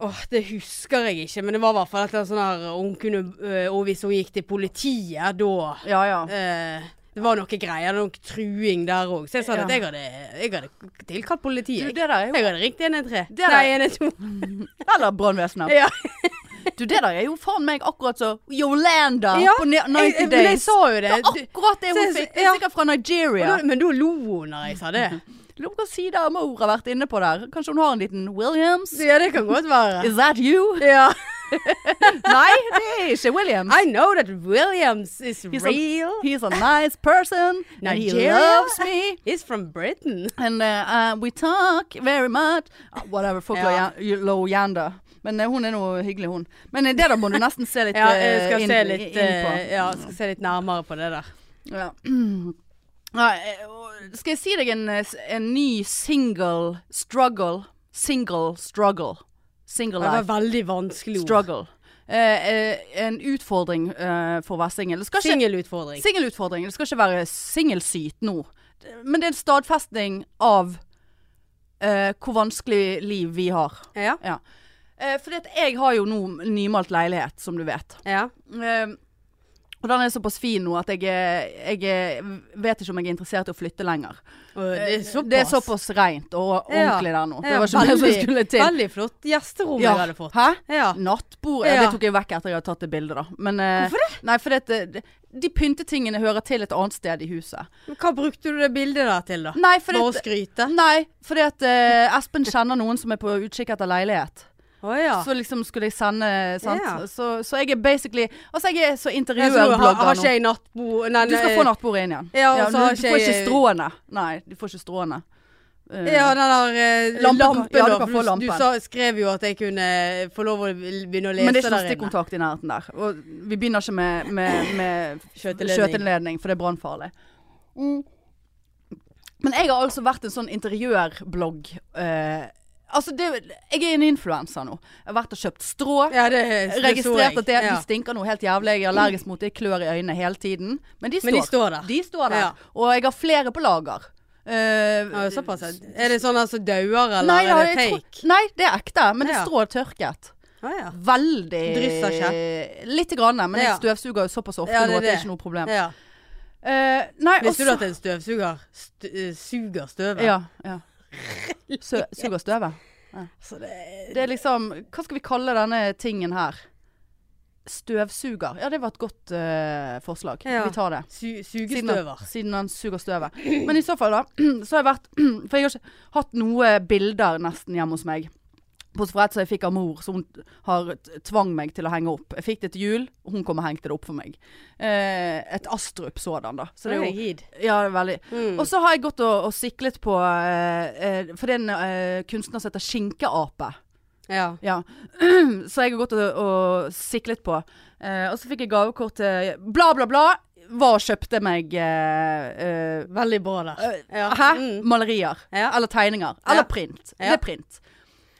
S1: Åh, det husker jeg ikke, men det var i hvert fall et eller annet sånn her og hun kunne, øh, Og hvis hun gikk til politiet, da
S2: Ja ja.
S1: eh, Det var noe greier, noe truing der òg. Så jeg sa
S2: Ja.
S1: at jeg hadde, jeg hadde tilkalt
S2: Du,
S1: politiet.
S2: det der er
S1: jeg
S2: jo
S1: hadde ringt 113.
S2: Det er
S1: Nei, 112.
S2: Eller brannvesenet.
S1: Ja.
S2: Du, det der er jo faen meg akkurat så Yolanda
S1: Ja,
S2: på ne- 90
S1: Jeg, jeg, men jeg
S2: Days.
S1: sa jo
S2: Det
S1: det.
S2: er akkurat det hun
S1: Så jeg-
S2: fikk.
S1: ja.
S2: Sikkert fra Nigeria.
S1: Da- Men da lo hun når jeg sa det.
S2: Lurer på hva side av mor har vært inne på der. Kanskje hun har en liten Williams?
S1: Så ja, det kan godt være.
S2: Is that you?
S1: Ja.
S2: Nei, det er ikke Williams.
S1: I know that Williams is
S2: He's a-
S1: real.
S2: He's a nice person, and he
S1: Nigeria?
S2: loves me.
S1: He's from Britain.
S2: And uh, uh, we talk very much Ah, Whatever, fuck
S1: Ja.
S2: Lo- Lo Yanda Men eh, hun er nå hyggelig hun Men eh, det da må du nesten se litt
S1: Ja, jeg skal
S2: eh, inn,
S1: se litt,
S2: inn på
S1: eh, ja, skal se litt nærmere på det der.
S2: ja. Nei, eh, og Skal jeg si deg en, eh, s- en ny single struggle Single struggle Single
S1: Det var
S2: life
S1: veldig vanskelig ord.
S2: struggle Eh, eh, En utfordring eh, for Vestingen Det skal ikke
S1: Singelutfordring.
S2: Singelutfordring. Det skal ikke være singelsyt nå. Men det er en stadfesting av eh, hvor vanskelig liv vi har.
S1: Ja.
S2: Ja. Eh, fordi at jeg har jo nå nymalt leilighet, som du vet.
S1: ja.
S2: Eh, og den er såpass fin nå at jeg, er- jeg er- vet ikke om jeg er interessert i å flytte lenger.
S1: Og det er såpass.
S2: Det er såpass rent og
S1: Ja.
S2: ordentlig der nå. Det
S1: Ja,
S2: var ikke mer som
S1: veldig-
S2: skulle til.
S1: Veldig flott gjesterom
S2: Ja.
S1: jeg hadde fått. Mm.
S2: Hæ?
S1: Ja.
S2: Nattbord ja. Det
S1: Ja.
S2: tok jeg vekk etter jeg hadde tatt det bildet, da. Men, Hvorfor det? Nei, fordi at det- de pyntetingene hører til et annet sted i huset.
S1: Men Hva brukte du det bildet der til, da?
S2: Nei, fordi
S1: Bare å
S2: at,
S1: skryte?
S2: nei, fordi at eh, Espen kjenner noen som er på utkikk etter leilighet.
S1: Å ja.
S2: Så liksom skulle jeg sende sant?
S1: Ja.
S2: Så, så jeg er basically Altså, jeg er så
S1: Jeg tror, har,
S2: interiørblogger
S1: har
S2: nå.
S1: ikke jeg nattbord Nei,
S2: Du skal
S1: nei,
S2: få nattbordet inn igjen.
S1: Ja, og så
S2: du,
S1: har
S2: du
S1: ikke
S2: får ikke
S1: jeg-
S2: stråene. Nei, du får ikke stråene. Eh,
S1: Ja, den der eh,
S2: Lampen-
S1: lampen,
S2: ja, du
S1: da,
S2: kan
S1: for
S2: få
S1: du- Du
S2: lampen.
S1: sa, skrev jo at jeg kunne eh, få lov å begynne å lese
S2: Eh, men det er ikke noe
S1: der inne.
S2: stikkontakt i nærheten der. Og vi begynner ikke med, med, med
S1: Skjøteledning.
S2: skjøteledning, for det er brannfarlig. Mm. Men jeg har altså vært en sånn interiørblogg. Eh, altså, det, jeg er en influenser nå. Jeg har vært og kjøpt strå.
S1: Ja, det, det så jeg.
S2: Registrert at det,
S1: ja.
S2: de stinker noe helt jævlig. Jeg er allergisk mot det. Klør i øynene hele tiden. Men de står,
S1: Men de står der.
S2: De står der.
S1: Ja.
S2: Og jeg har flere på lager. Eh,
S1: Ja, såpass. ja. Er det sånn altså dauer, eller
S2: nei, ja,
S1: er det
S2: jeg tror-
S1: fake?
S2: nei, det er ekte. Men det
S1: Ja.
S2: strå er tørket.
S1: Å ja.
S2: Veldig
S1: Drysser
S2: Litt, grann, men jeg
S1: Ja.
S2: støvsuger jo såpass ofte
S1: Ja, det
S2: nå
S1: er
S2: at det er
S1: det.
S2: ikke noe problem.
S1: ja.
S2: Eh, nei,
S1: Visste du
S2: også-
S1: at en støvsuger st eh, suger støvet?
S2: Ja. ja. Sø, suger støvet.
S1: Så det,
S2: Det er liksom Hva skal vi kalle denne tingen her? Støvsuger. Ja, det var et godt eh, forslag.
S1: Ja.
S2: Vi tar det.
S1: su
S2: Siden han,
S1: sugestøver.
S2: siden han suger støvet. Men i så fall, da, så har jeg vært For jeg har ikke hatt noe bilder nesten hjemme hos meg. Bortsett fra et som jeg fikk av mor, så hun har t- tvang meg til å henge opp. Jeg fikk det til jul, og hun kom og hengte det opp for meg. Eh, et Astrup sådan, da. Så det er jo
S1: gid.
S2: Ja, det er veldig.
S1: Mm.
S2: Og så har jeg gått og, og siklet på eh, eh, For det er en eh, kunstner som heter Skinkeape.
S1: Ja.
S2: Ja. Så jeg har gått og, og siklet på. Eh, og så fikk jeg gavekort til bla, bla, bla. Var og kjøpte meg eh, eh,
S1: Veldig bra der. Ja.
S2: Hæ?
S1: Mm.
S2: Malerier.
S1: Ja.
S2: Eller tegninger. Eller
S1: Ja.
S2: print.
S1: Ja.
S2: Det er print.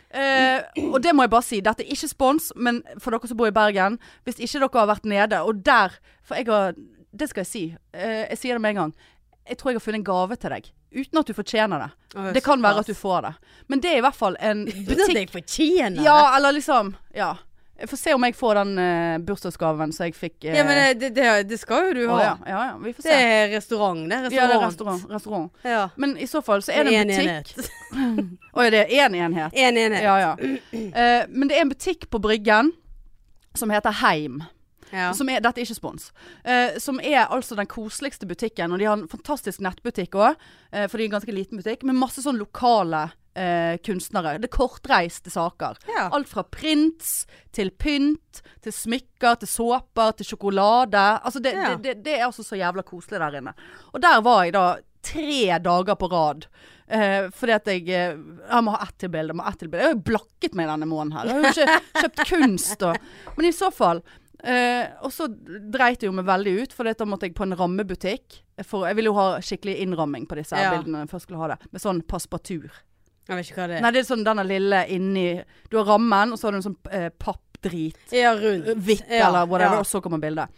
S2: Eh, og det må jeg bare si, dette er ikke spons, men for dere som bor i Bergen Hvis ikke dere har vært nede, og der For jeg har Det skal jeg si. Eh, jeg sier det med en gang. Jeg tror jeg har funnet en gave til deg. Uten at du fortjener det.
S1: Å,
S2: Det kan være at
S1: såpass.
S2: du får det. Men det er i hvert fall en
S1: Uten at
S2: butikk
S1: jeg fortjener
S2: ja, eller liksom Ja. Jeg får se om jeg får den eh, bursdagsgaven som jeg fikk. eh,
S1: det. Ja, men det, det, det, det skal jo du
S2: å,
S1: ha.
S2: ja, ja, ja, vi får
S1: Det
S2: se.
S1: er restaurant. Det er restaurant.
S2: ja, det er restaurant, restaurant.
S1: Ja.
S2: Men i så fall så er det en
S1: Med en
S2: butikk
S1: enhet.
S2: Å ja, det er én enhet.
S1: En enhet.
S2: Ja, ja. Eh, men det er en butikk på Bryggen som heter Heim.
S1: Ja.
S2: Som er, dette er ikke spons. Eh, som er altså den koseligste butikken. Og de har en fantastisk nettbutikk òg, for de er en ganske liten butikk. Med masse sånn lokale eh, kunstnere. Det er kortreiste saker.
S1: Ja.
S2: Alt fra prints til pynt, til smykker, til såper, til sjokolade. Altså det,
S1: Ja.
S2: det, det, det er altså så jævla koselig der inne. Og der var jeg da tre dager på rad. Eh, fordi at jeg eh, Jeg må ha ett til bilde. Jeg må ha ett til bilde. Jeg har jo blakket meg denne måneden her. Jeg har jo ikke kjøpt kunst og Men i så fall eh, Og så dreit jeg jo meg veldig ut, for da måtte jeg på en rammebutikk. eh, For jeg ville jo ha skikkelig innramming på disse her
S1: Ja.
S2: bildene når jeg først skulle ha det. Med sånn passepartout.
S1: Jeg vet ikke hva det er.
S2: Nei, det er sånn denne lille inni Du har rammen, og så har du en sånn eh, pappdrit.
S1: Ja, rundt.
S2: Hvitt
S1: ja,
S2: eller whatever,
S1: Ja.
S2: og så kommer bildet.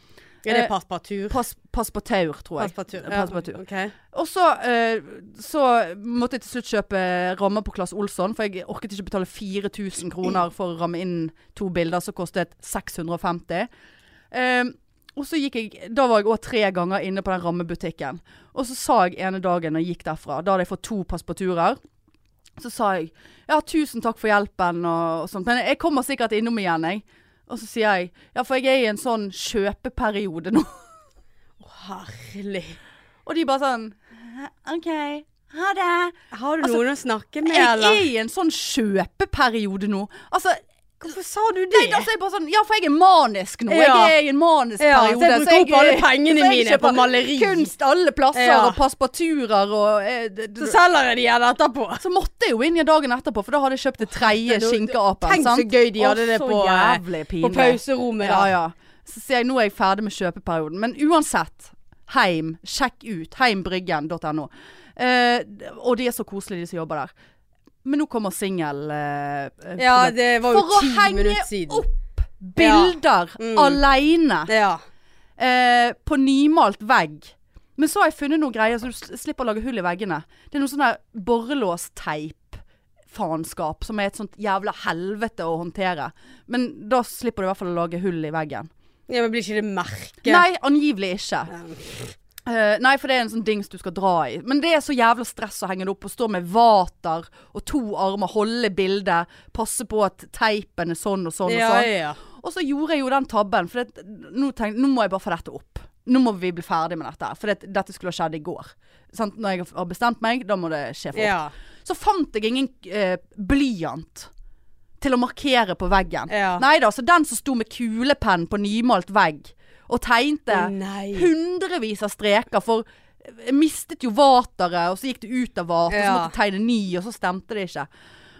S1: Er det passepartout?
S2: Pass, passepartout, tror jeg.
S1: Passepartout.
S2: Passepartout.
S1: Ja. ok.
S2: Og så, eh, så måtte jeg til slutt kjøpe rammer på Claes Olsson, for jeg orket ikke betale 4000 kroner for å ramme inn to bilder som kostet 650. Eh, og så gikk jeg, da var jeg òg tre ganger inne på den rammebutikken. Og så sa jeg ene dagen når jeg gikk derfra, da hadde jeg fått to passeparturer. Så sa jeg ja, tusen takk for hjelpen og, og sånt, men jeg kommer sikkert innom igjen, jeg. Og så sier jeg ja, for jeg er i en sånn kjøpeperiode nå.
S1: Herlig.
S2: Og de bare sånn OK, ha det.
S1: Har du
S2: Altså,
S1: noen å snakke med,
S2: Jeg
S1: eller?
S2: er i en sånn kjøpeperiode nå. Altså,
S1: Hvorfor sa du det?
S2: nei, da er jeg bare sånn Ja, for jeg er manisk nå.
S1: Ja.
S2: Jeg er i en manisk
S1: Ja, så jeg
S2: periode.
S1: bruker opp alle pengene
S2: så jeg
S1: mine på
S2: kjøper
S1: maleri.
S2: Kunst alle plasser,
S1: Ja.
S2: og passeparturer og eh, d- d-
S1: så selger jeg de igjen etterpå.
S2: Så måtte jeg jo inn igjen dagen etterpå, for da hadde jeg kjøpt det tredje
S1: Nå-
S2: skinkeapen.
S1: Tenk så
S2: sant?
S1: gøy de hadde
S2: Å,
S1: det
S2: så
S1: på, eh,
S2: jævlig
S1: på
S2: pinlig.
S1: pauserommet.
S2: Ja,
S1: da.
S2: ja. Så sier jeg nå er jeg ferdig med kjøpeperioden. Men uansett, heim. Sjekk ut. Heimbryggen.no. Eh, og de er så koselige, de som jobber der. Men nå kommer singel... Eh,
S1: Ja, det var
S2: For
S1: jo
S2: å
S1: ti minutter
S2: henge
S1: siden.
S2: opp bilder
S1: Mm.
S2: aleine
S1: Ja.
S2: eh, på nymalt vegg. Men så har jeg funnet noen greier, så du s- slipper å lage hull i veggene. Det er noe sånn der borrelåsteip-faenskap, som er et sånt jævla helvete å håndtere. Men da slipper du i hvert fall å lage hull i veggen.
S1: ja, men blir ikke det merke?
S2: Nei, angivelig ikke. Eh, nei, for det er en sånn dings du skal dra i. Men det er så jævla stress å henge det opp og stå med vater og to armer, holde bildet, passe på at teipen er sånn og sånn
S1: Ja,
S2: og sånn.
S1: ja.
S2: Og så gjorde jeg jo den tabben, for det, nå tenkte jeg nå må jeg bare få dette opp. Nå må vi bli ferdig med dette, her, for det, dette skulle ha skjedd i går. Sant? Når jeg har bestemt meg, da må det skje fort.
S1: Ja.
S2: Så fant jeg ingen eh, blyant til å markere på veggen.
S1: Ja.
S2: Nei da, så den som sto med kulepenn på nymalt vegg og tegnte
S1: Å, nei.
S2: hundrevis av streker, for jeg mistet jo vateret, og så gikk det ut av vateret, så
S1: Ja.
S2: måtte jeg tegne ny, og så stemte det ikke.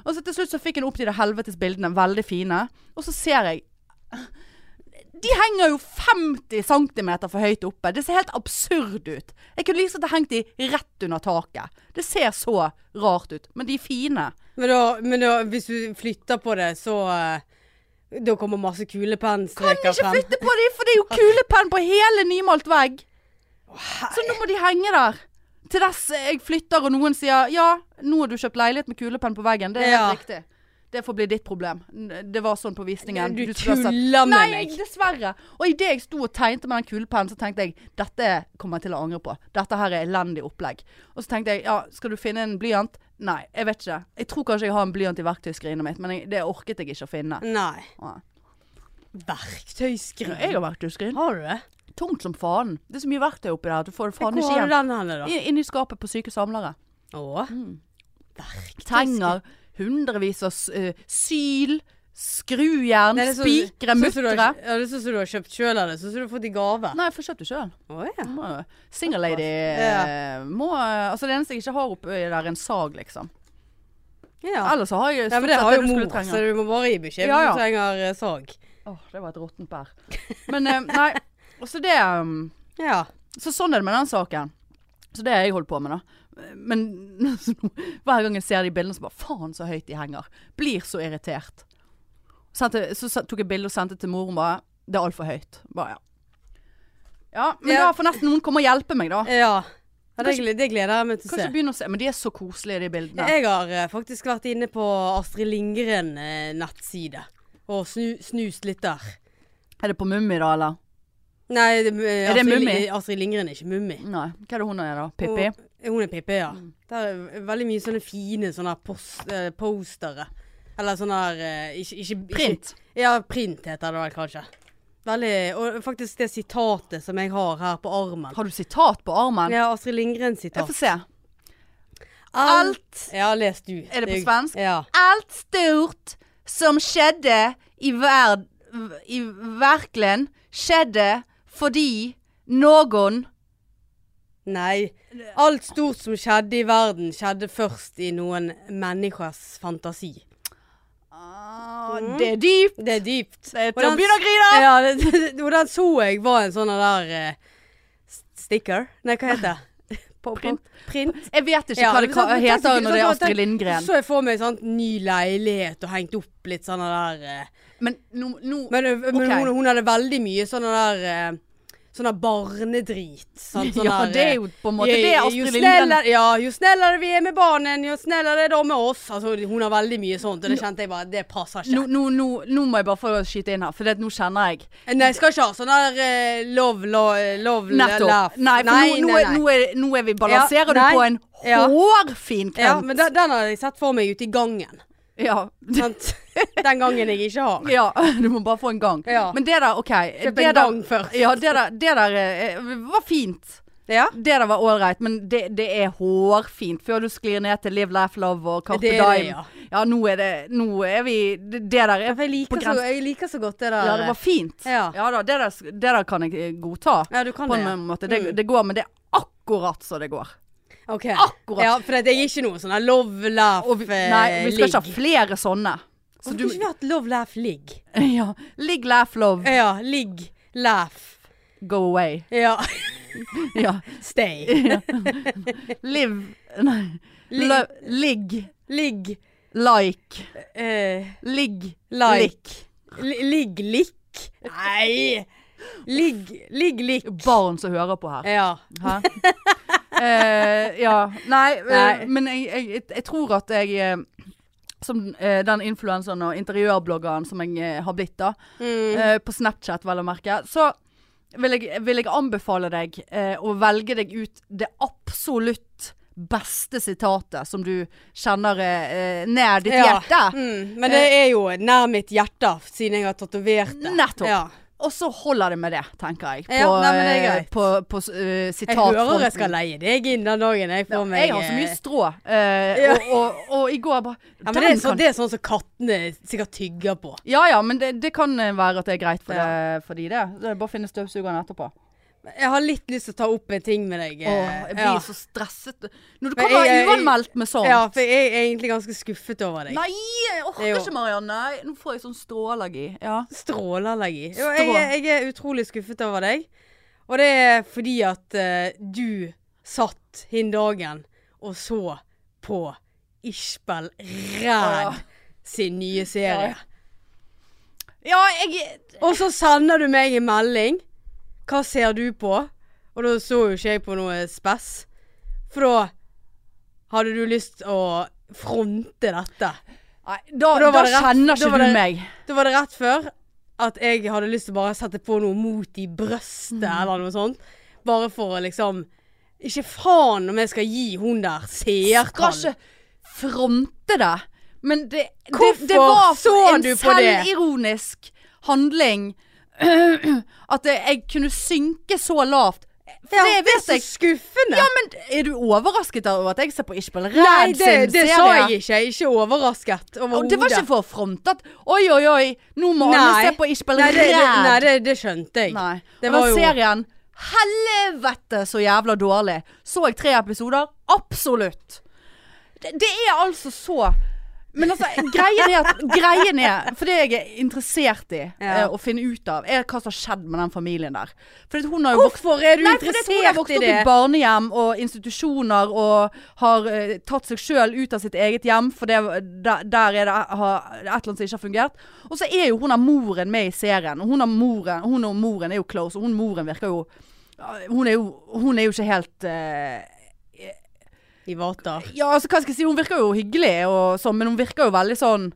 S2: Og så til slutt så fikk jeg opp de der helvetes bildene, veldig fine, og så ser jeg de henger jo 50 cm for høyt oppe. Det ser helt absurd ut. Jeg kunne liksom hengt de rett under taket. Det ser så rart ut. Men de er fine.
S1: Men da, men da, hvis du flytter på det, så eh, Da kommer masse
S2: Kan
S1: kulepennstreker
S2: ikke
S1: frem.
S2: flytte på de, for det er jo kulepenn på hele nymalt vegg. Så nå må de henge der. Til dess jeg flytter og noen sier ja, nå har du kjøpt leilighet med kulepenn på veggen. Det er
S1: Ja.
S2: helt riktig. Det får bli ditt problem. N- Det var sånn på visningen.
S1: Du
S2: skulle ha sett-
S1: tuller
S2: Nei,
S1: med meg.
S2: dessverre. Og idet jeg sto og tegnte med den kulepennen, så tenkte jeg dette kommer jeg til å angre på. Dette her er elendig opplegg. Og så tenkte jeg ja, skal du finne en blyant? Nei, jeg vet ikke. Jeg tror kanskje jeg har en blyant i verktøyskrinet mitt, men jeg, det orket jeg ikke å finne.
S1: Nei.
S2: Ja. Jeg
S1: Verktøyskrin.
S2: har verktøyskrin.
S1: Har du det?
S2: Tungt som faen. Det er så mye verktøy oppi der at du får det faen
S1: Hvor
S2: ikke
S1: har du
S2: igjen.
S1: den henne, da?
S2: I- Inni skapet på syke samlere.
S1: Å.
S2: Mm. Tenger, hundrevis av s- eh, syl, skrujern,
S1: Nei, det er sånn-
S2: spikre,
S1: sånn som du har-
S2: muttere.
S1: Ja, det er sånn som du har kjøpt sjøl, eller sånn som du har fått i gave.
S2: Nei, for kjøpte sjøl.
S1: Å ja.
S2: Single lady eh, må eh, Altså det eneste jeg ikke har oppi der, er en sag, liksom.
S1: ja.
S2: Ellers så har jeg
S1: Nei,
S2: stort
S1: men det
S2: sett
S1: har
S2: det
S1: jo
S2: du
S1: mor, altså.
S2: skulle
S1: så
S2: trenge.
S1: du må bare gi beskjed
S2: Ja,
S1: hvis
S2: ja.
S1: du trenger eh, sag.
S2: Åh, det var et råttent bær. Men eh, nei. Så det um,
S1: Ja.
S2: Så sånn er det med den saken. Så det har jeg holdt på med, da. Men så nå- hver gang jeg ser de bildene, så bare faen så høyt de henger. Blir så irritert. Sendte, så sa- tok jeg bilde og sendte til mor og bare Det er altfor høyt. Bare ja. Ja, men
S1: Ja.
S2: da får nesten noen komme og hjelpe meg, da.
S1: Ja. ja det, gleder, det gleder jeg meg til å
S2: Kanskje
S1: se.
S2: begynne å se. Men de er så koselige, de bildene.
S1: Jeg har eh, faktisk vært inne på Astrid Lindgren-nettside og snu, snust litt der.
S2: Er det på Mummi, da, eller?
S1: Nei, det, eh,
S2: Er det
S1: Astrid,
S2: Mummi?
S1: Astrid Lindgren er ikke Mummi.
S2: Nei. Hva er det hun er, da? Pippi?
S1: Hun, hun er Pippi, Mm. ja. Det er veldig mye sånne fine sånne her pos- eh, postere. Eller sånne her eh, ikke, ikke, ikke,
S2: Print.
S1: Ja, print heter det vel kanskje. Veldig, og faktisk det sitatet som jeg har her på armen.
S2: Har du sitat på armen?
S1: Ja, Astrid Lindgren-sitat.
S2: Jeg får se. Alt-
S1: Ja, les du.
S2: Er det på
S1: Jeg-
S2: svensk?
S1: Ja.
S2: Alt stort som skjedde i verd... I verkligen skjedde fordi noen
S1: Nei. Alt stort som skjedde i verden, skjedde først i noen menneskers fantasi.
S2: ah,
S1: Mm.
S2: Det er dypt.
S1: Det er dypt.
S2: Det er
S1: Og
S2: til å
S1: den-
S2: begynne å grine!
S1: Ja, det, det, det- og den så jeg var en sånn der eh, s- sticker. Nei, hva heter det? På- på-
S2: Print.
S1: Print.
S2: Jeg vet ikke
S1: Ja,
S2: hva det
S1: liksom,
S2: hva
S1: men tenk-
S2: heter når det er
S1: sånn-
S2: Astrid
S1: tenk-
S2: Lindgren.
S1: Så jeg for meg sånn ny leilighet og hengt opp litt sånn der eh,
S2: Men nå, nå
S1: Men, eh, men
S2: Ok.
S1: hun, hun hadde veldig mye sånn der eh, Sånn der barnedrit. sant? Sånn
S2: Ja,
S1: der,
S2: det er
S1: eh,
S2: jo på en måte
S1: «Jo-
S2: det
S1: jo
S2: Astrid Lindgren
S1: snällare- Ja, jo snällare vi er med barnen, jo snällare de er med oss. Altså, hun har veldig mye sånt, og det kjente jeg bare, det passer ikke.
S2: nå, nå, nå, nå må jeg bare få skyte inn her, for det, at nå kjenner jeg.
S1: Nei, jeg skal ikke ha sånn der eh, love, love, love
S2: Nettopp.
S1: laugh.
S2: Nei, for nå, nå, er, nå, er, nå er vi balanserer
S1: Ja,
S2: du på
S1: nei.
S2: en
S1: Ja.
S2: hårfin
S1: Ja,
S2: kant.
S1: men den, den har jeg sett for meg ute i gangen.
S2: Ja,
S1: Sant? den gangen jeg ikke har.
S2: ja, du må bare få en gang.
S1: Ja.
S2: Men det der, OK.
S1: Kjøp
S2: det
S1: en
S2: der-
S1: gang først.
S2: Ja, det der, det der eh, var fint.
S1: Ja.
S2: Det der var ålreit, men det, det er hårfint før du sklir ned til Live, Laugh, Love og Carpe
S1: Det er det,
S2: Dime.
S1: ja.
S2: ja, nå er det Nå er vi Det, det der er
S1: For jeg
S2: på
S1: liker, så,
S2: grensen.
S1: jeg liker så godt det der.
S2: Ja, det var fint.
S1: Ja.
S2: da, det der, sk- det der kan jeg eh, godta.
S1: Ja, du kan
S2: på
S1: det. ja.
S2: en måte. Det,
S1: Mm.
S2: det går, men det er akkurat så det går.
S1: Ok.
S2: Akkurat.
S1: Ja, for det er ikke noe sånn her love, laugh,
S2: Og vi,
S1: eh,
S2: nei, vi skal ikke ha
S1: ligg.
S2: flere sånne. Så
S1: Hvorfor
S2: du,
S1: kunne ikke Eh. vi hatt love, laugh, ligg?
S2: ja, ligg, laugh, love,
S1: Ja, ligg, laugh.
S2: go away.
S1: Ja,
S2: Ja.
S1: stay.
S2: Live Nei.
S1: Ligg.
S2: Lo- Ligg,
S1: Ligg,
S2: like,
S1: eh,
S2: ligg,
S1: like.
S2: likk.
S1: Li- Ligg, likk. Nei! Ligg, ligg, likk.
S2: Barn som hører på her.
S1: Ja.
S2: Hæ? Eh, ja. Nei, eh,
S1: Nei.
S2: men jeg, jeg, jeg, jeg tror at jeg eh, som eh, den influenseren og interiørbloggeren som jeg eh, har blitt, da.
S1: Mm.
S2: eh, på Snapchat, vel å merke, så vil jeg, vil jeg anbefale deg eh, å velge deg ut det absolutt beste sitatet som du kjenner eh, eh, ned ditt
S1: Ja.
S2: hjerte.
S1: Mm. Men det er jo nær mitt hjerte, siden jeg har tatovert det.
S2: Nettopp.
S1: Ja.
S2: Og så holder det med det, tenker jeg. På,
S1: Ja, nei, men det er
S2: eh, på, på eh,
S1: Jeg hører jeg
S2: sitatfronten.
S1: skal leie deg inn den dagen jeg får meg
S2: Jeg har så
S1: eh,
S2: mye strå. Eh,
S1: Ja.
S2: og, og, og i går bare
S1: Ja, men det, er
S2: "Den
S1: sånn-
S2: kan-
S1: det er sånn som kattene sikkert tygger på.
S2: ja, ja, men det, det kan eh, være at det er greit for,
S1: Ja.
S2: det, for de, det. Det er bare å finne støvsugeren etterpå.
S1: Jeg har litt lyst til å ta opp en ting med deg. eh,
S2: Åh, jeg blir
S1: ja.
S2: så stresset. Når du
S1: Men
S2: kommer
S1: jeg- jeg-
S2: uanmeldt med sånt.
S1: ja, for jeg er egentlig ganske skuffet over deg.
S2: Nei, jeg
S1: Det
S2: orker
S1: er jo-
S2: ikke Marianne. Nei, Nå får jeg sånn stråallergi. Ja.
S1: Stråleallergi.
S2: Strå.
S1: Jo, Jeg, er- jeg er utrolig skuffet over deg. Og det er fordi at eh, du satt hin dagen og så på Ishbel
S2: Ja.
S1: Ræd sin nye serie.
S2: ja, jeg
S1: Og så sender du meg en melding. Hva ser du på? Og da så jo ikke jeg på noe spess. For da hadde du lyst å fronte dette.
S2: Nei, da,
S1: da
S2: da,
S1: var det rett. Da
S2: kjenner ikke
S1: var
S2: du
S1: det-
S2: meg.
S1: Da var det rett før at jeg hadde lyst til å bare sette på noe mot i brøstet
S2: Mhm.
S1: eller noe sånt. Bare for å liksom Ikke faen om jeg skal gi hun der
S2: Skal
S1: seertall.
S2: ikke fronte det. Men det, det,
S1: Hvorfor
S2: det var
S1: så
S2: en
S1: du på det?
S2: selvironisk handling at jeg, jeg kunne synke så lavt. For
S1: Ja,
S2: det
S1: det er
S2: vet
S1: så
S2: jeg.
S1: skuffende.
S2: Ja, men er du overrasket over at jeg ser på Ishbel
S1: Nei,
S2: Ræd
S1: det,
S2: sin
S1: det
S2: serie?
S1: sa jeg ikke. Jeg er ikke overrasket
S2: Og
S1: overhodet.
S2: det var ikke for å fronte at Oi, oi, oi, nå må
S1: Nei.
S2: alle se på Ishbel
S1: Nei, det, det,
S2: Ræd.
S1: nei det, det skjønte jeg.
S2: Nei.
S1: Det
S2: og
S1: var
S2: den
S1: jo-
S2: serien Helvete så jævla dårlig. Så jeg tre episoder? Absolutt. Det, det er altså så Men altså, greien er at Greien er For det jeg er interessert i eh, å finne ut av, er hva som har skjedd med den familien der. For hun har jo vokst
S1: Hvorfor er du
S2: Nei, for det tror jeg
S1: interessert
S2: vokste
S1: i
S2: opp i
S1: det?
S2: barnehjem og institusjoner og har eh, tatt seg sjøl ut av sitt eget hjem, for det, der, der er det har, et eller annet som ikke har fungert. Og så er jo hun og moren med i serien, og hun, har moren, hun og moren er jo close, og hun moren virker jo Hun er jo, hun er jo ikke helt eh,
S1: I vater.
S2: Ja, altså hva skal jeg si, hun virker jo hyggelig og sånn, men hun virker jo veldig sånn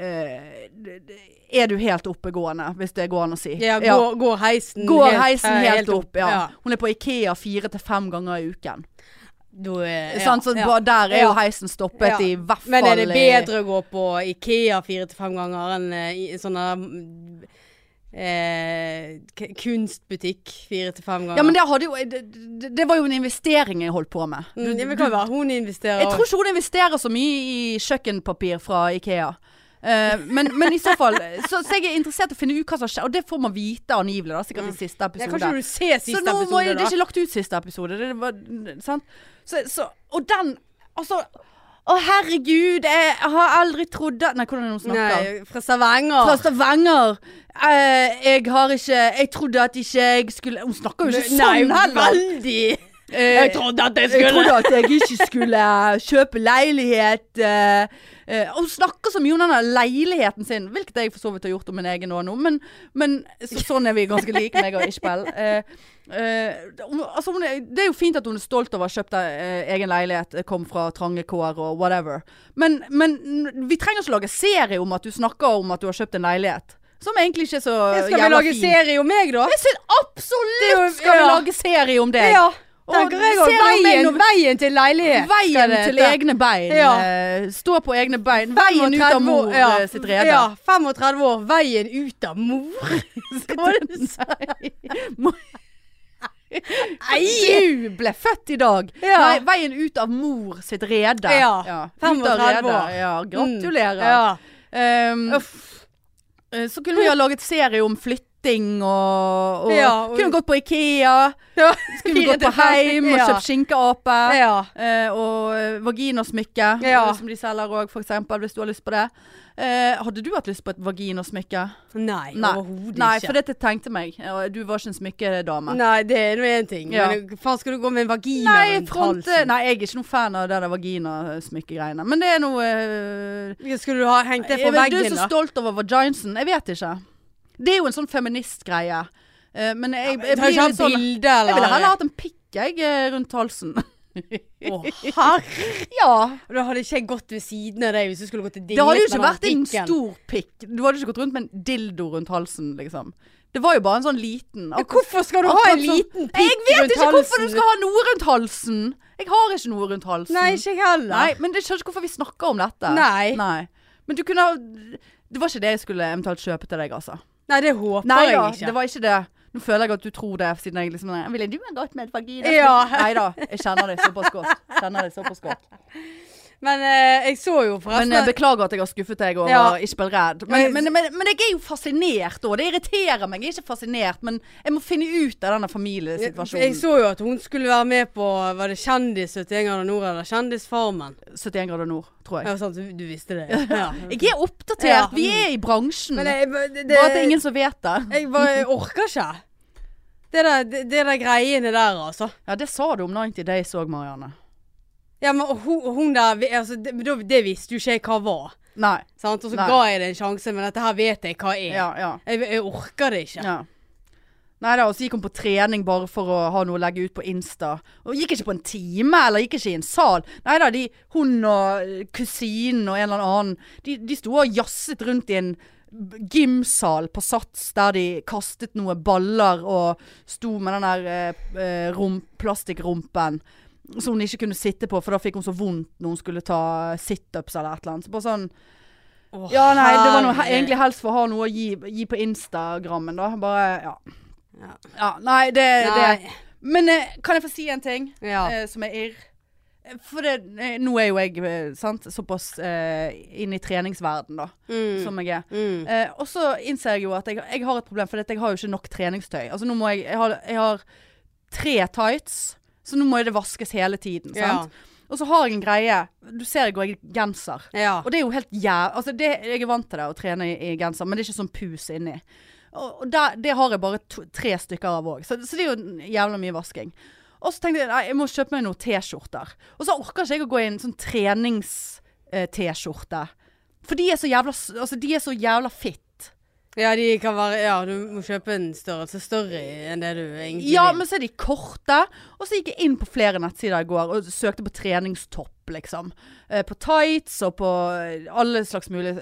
S2: eh, d- d- Er du helt oppegående, hvis det går an å si.
S1: Ja, går, går heisen
S2: Går heisen
S1: eh,
S2: helt, opp, ja. Hun er på Ikea fire til fem ganger i uken.
S1: Da er- ja,
S2: Sant, så
S1: ja.
S2: bare Der er jo
S1: Ja.
S2: heisen stoppet
S1: Ja.
S2: i hvert fall
S1: Men er det
S2: i-
S1: bedre å gå på Ikea fire til fem ganger enn eh, i sånne mm, eh, k- kunstbutikk fire til fem ganger.
S2: Ja, men det, hadde jo, det, det- det var jo en investering jeg holdt på med.
S1: Mm, ja, men kan jo være hun investerer
S2: Jeg tror ikke hun investerer så mye i kjøkkenpapir fra Ikea. Eh, men, men i så fall så, så jeg er interessert i å finne ut hva som skjer, og det får man vite angivelig, da, sikkert i siste
S1: Mm. Ja,
S2: episode.
S1: kanskje du ser siste
S2: så nå
S1: episode,
S2: må jeg, det
S1: da.
S2: er ikke lagt ut siste episode. Det var, sant? Så, så, og den Altså Å, herregud, jeg har aldri trodd det Nei, hvordan er det hun snakker?
S1: Nei, fra Stavanger.
S2: Fra Stavanger. Eh, jeg har ikke Jeg trodde at ikke jeg skulle Hun snakker jo ikke
S1: Nei,
S2: sånn heller.
S1: veldig.
S2: Eh,
S1: Jeg trodde at jeg
S2: jeg
S1: skulle
S2: trodde at jeg ikke skulle eh, kjøpe leilighet. eh, eh, og hun snakker så mye om denne leiligheten sin, hvilket jeg for så vidt har gjort om min egen òg nå. Men, men så, sånn er vi ganske like, meg og Ishbel. Eh, eh, hun- altså, hun er, det er jo fint at hun er stolt over å ha kjøpt eh, egen leilighet, kom fra trange kår og whatever. Men, men vi trenger ikke lage serie om at du snakker om at du har kjøpt en leilighet. Som egentlig ikke er så
S1: Ja, Skal vi
S2: jævla
S1: lage
S2: fin.
S1: serie om meg, da?
S2: Jeg synes
S1: Det er jo-
S2: absolutt skal vi
S1: ja.
S2: lage serie om deg. Og
S1: tenker jeg. Og
S2: serien om meg
S1: veien,
S2: når-
S1: veien til leilighet. skal
S2: Veien
S1: det
S2: til
S1: hete.
S2: egne bein.
S1: Ja.
S2: eh, Stå på egne bein. Veien ut av
S1: 35
S2: mor
S1: år, ja.
S2: eh, sitt rede.
S1: Ja. 35 år. Veien ut av mor. Skal du si? Nei!
S2: Du ble født i dag.
S1: Ja.
S2: Nei, veien ut av mor sitt rede.
S1: Ja.
S2: Ut av
S1: 35
S2: rede.
S1: år.
S2: Mm. Ja, gratulerer.
S1: Ja.
S2: Ehm,
S1: Uff.
S2: eh, så kunne vi ha laget serie om flytting og, og,
S1: Ja, og-
S2: Kunne gått på Ikea.
S1: Ja.
S2: Kunne gått på Heim og kjøpt skinkeape.
S1: Ja.
S2: Eh, og eh, vaginasmykke,
S1: Ja.
S2: eh, som de selger òg, f.eks., hvis du har lyst på det. Eh, hadde du hatt lyst på et vaginasmykke?
S1: Nei,
S2: Nei.
S1: overhodet
S2: Nei,
S1: ikke.
S2: for dette tenkte meg. Ja, Du var ikke en smykkedame.
S1: Nei, det er nå én ting.
S2: Ja.
S1: Men faen, skal du gå med en vagina
S2: Nei,
S1: rundt
S2: front,
S1: halsen?
S2: nei, jeg er ikke noen fan av det der vaginasmykkegreiene. Men det er noe eh,
S1: Skulle du ha hengt det
S2: jeg
S1: på
S2: vet- Du er
S1: veggen,
S2: så
S1: da?
S2: stolt over vaginesen. Jeg vet ikke. Det er jo en sånn feministgreie. Eh, men jeg, jeg,
S1: Jeg tar
S2: blir
S1: ikke
S2: litt
S1: ha
S2: sånn Jeg
S1: bilde,
S2: ville heller
S1: eller?
S2: hatt en pikk jeg, eh, rundt halsen.
S1: Å, herre.
S2: ja.
S1: Da hadde ikke jeg gått ved siden av deg hvis du skulle gått til
S2: Det
S1: dinglet
S2: hadde jo ikke
S1: med den
S2: vært en
S1: pikken.
S2: stor pikk. Du hadde ikke gått rundt med en dildo rundt halsen, liksom. Det var jo bare en sånn liten.
S1: Men Hvorfor skal du ha
S2: Akkurat
S1: en
S2: som-
S1: liten
S2: Jeg
S1: pikk
S2: vet
S1: rundt
S2: ikke hvorfor du
S1: halsen?
S2: skal ha noe rundt halsen! Jeg har ikke noe rundt halsen.
S1: Nei, ikke jeg heller.
S2: Nei, men jeg skjønner ikke hvorfor vi snakker om dette.
S1: Nei.
S2: Men du kunne ha Det var ikke det jeg skulle eventuelt kjøpe til deg, altså.
S1: Nei, det håper
S2: Nei
S1: jeg
S2: da,
S1: ikke.
S2: det var ikke det. Nå føler jeg at du tror det, siden jeg liksom Ville du ha gått med et vagina?
S1: Ja.
S2: Nei da, jeg kjenner deg såpass godt. Kjenner deg såpass godt.
S1: Men eh, jeg så jo forresten
S2: Men jeg beklager at jeg har skuffet deg over
S1: Ja.
S2: ikke bli redd. Men, men, men, men jeg er jo fascinert òg. Det irriterer meg. Jeg er ikke fascinert, men jeg må finne ut av denne
S1: Jeg
S2: familiesituasjonen.
S1: så jo at hun skulle være med på Var det Kjendis 71 grader nord eller Kjendisfarmen?
S2: 71 grader nord, tror jeg.
S1: Ja, sant, du, du visste det. Ja.
S2: Jeg er oppdatert.
S1: Mm. Ja.
S2: Vi er i bransjen.
S1: Men
S2: Bare
S1: jeg, det,
S2: at det er ingen som vet det.
S1: jeg, bare, jeg orker ikke. Det der, det, det der greiene der, altså.
S2: Ja, det sa du om 90 Days òg, Marianne.
S1: Ja, men hun, hun der vi- altså, det, men da- det visste jo ikke jeg hva var.
S2: Nei.
S1: Sant? Og så
S2: Nei.
S1: ga jeg det en sjanse, men dette her vet jeg hva er.
S2: Ja, ja.
S1: Jeg, jeg orker det ikke.
S2: ja. Nei da, og så gikk hun på trening bare for å ha noe å legge ut på Insta. Og gikk ikke på en time, eller gikk ikke i en sal. Nei da, de, hun og eh, kusinen og en eller annen, de, de sto og jasset rundt i en b- gymsal på Sats der de kastet noe baller og sto med den der eh, eh, rom, plastikkrumpen som hun ikke kunne sitte på, for da fikk hun så vondt når hun skulle ta situps eller et eller annet. Så bare sånn
S1: Å,
S2: Ja, nei, det var noe, he-
S1: herre.
S2: egentlig helst for å ha noe å gi, gi på Instagrammen, da. Bare, ja.
S1: Ja.
S2: ja nei, det, det.
S1: Nei.
S2: Men eh, kan jeg få si en ting
S1: Ja.
S2: eh, som er irr? For det, eh, nå er jo jeg eh, sant, såpass eh, inn i treningsverden da,
S1: Mm.
S2: som jeg er.
S1: Mm.
S2: Eh, og så innser jeg jo at jeg, jeg har et problem, for jeg har jo ikke nok treningstøy. Altså nå må jeg, jeg, har, jeg har tre tights, så nå må det vaskes hele tiden,
S1: Ja.
S2: sant? Og så har jeg en greie, du ser jeg går i genser.
S1: ja.
S2: Og det er jo helt jæv... Altså, det, jeg er vant til det, å trene i, i genser, men det er ikke sånn pus inni. Og, og der, det har jeg bare to, tre stykker av òg, så, så det er jo jævla mye vasking. Og så tenkte jeg nei, jeg må kjøpe meg noen T-skjorter. Og så orker ikke jeg å gå i en sånn trenings-T-skjorte. For de er så jævla s- Altså, de er så jævla fit.
S1: Ja, de kan være Ja, du må kjøpe en størrelse større enn det du egentlig
S2: Ja,
S1: vil.
S2: men så er de korte. Og så gikk jeg inn på flere nettsider i går og søkte på treningstopp, liksom. Eh, på tights og på eh, alle slags mulige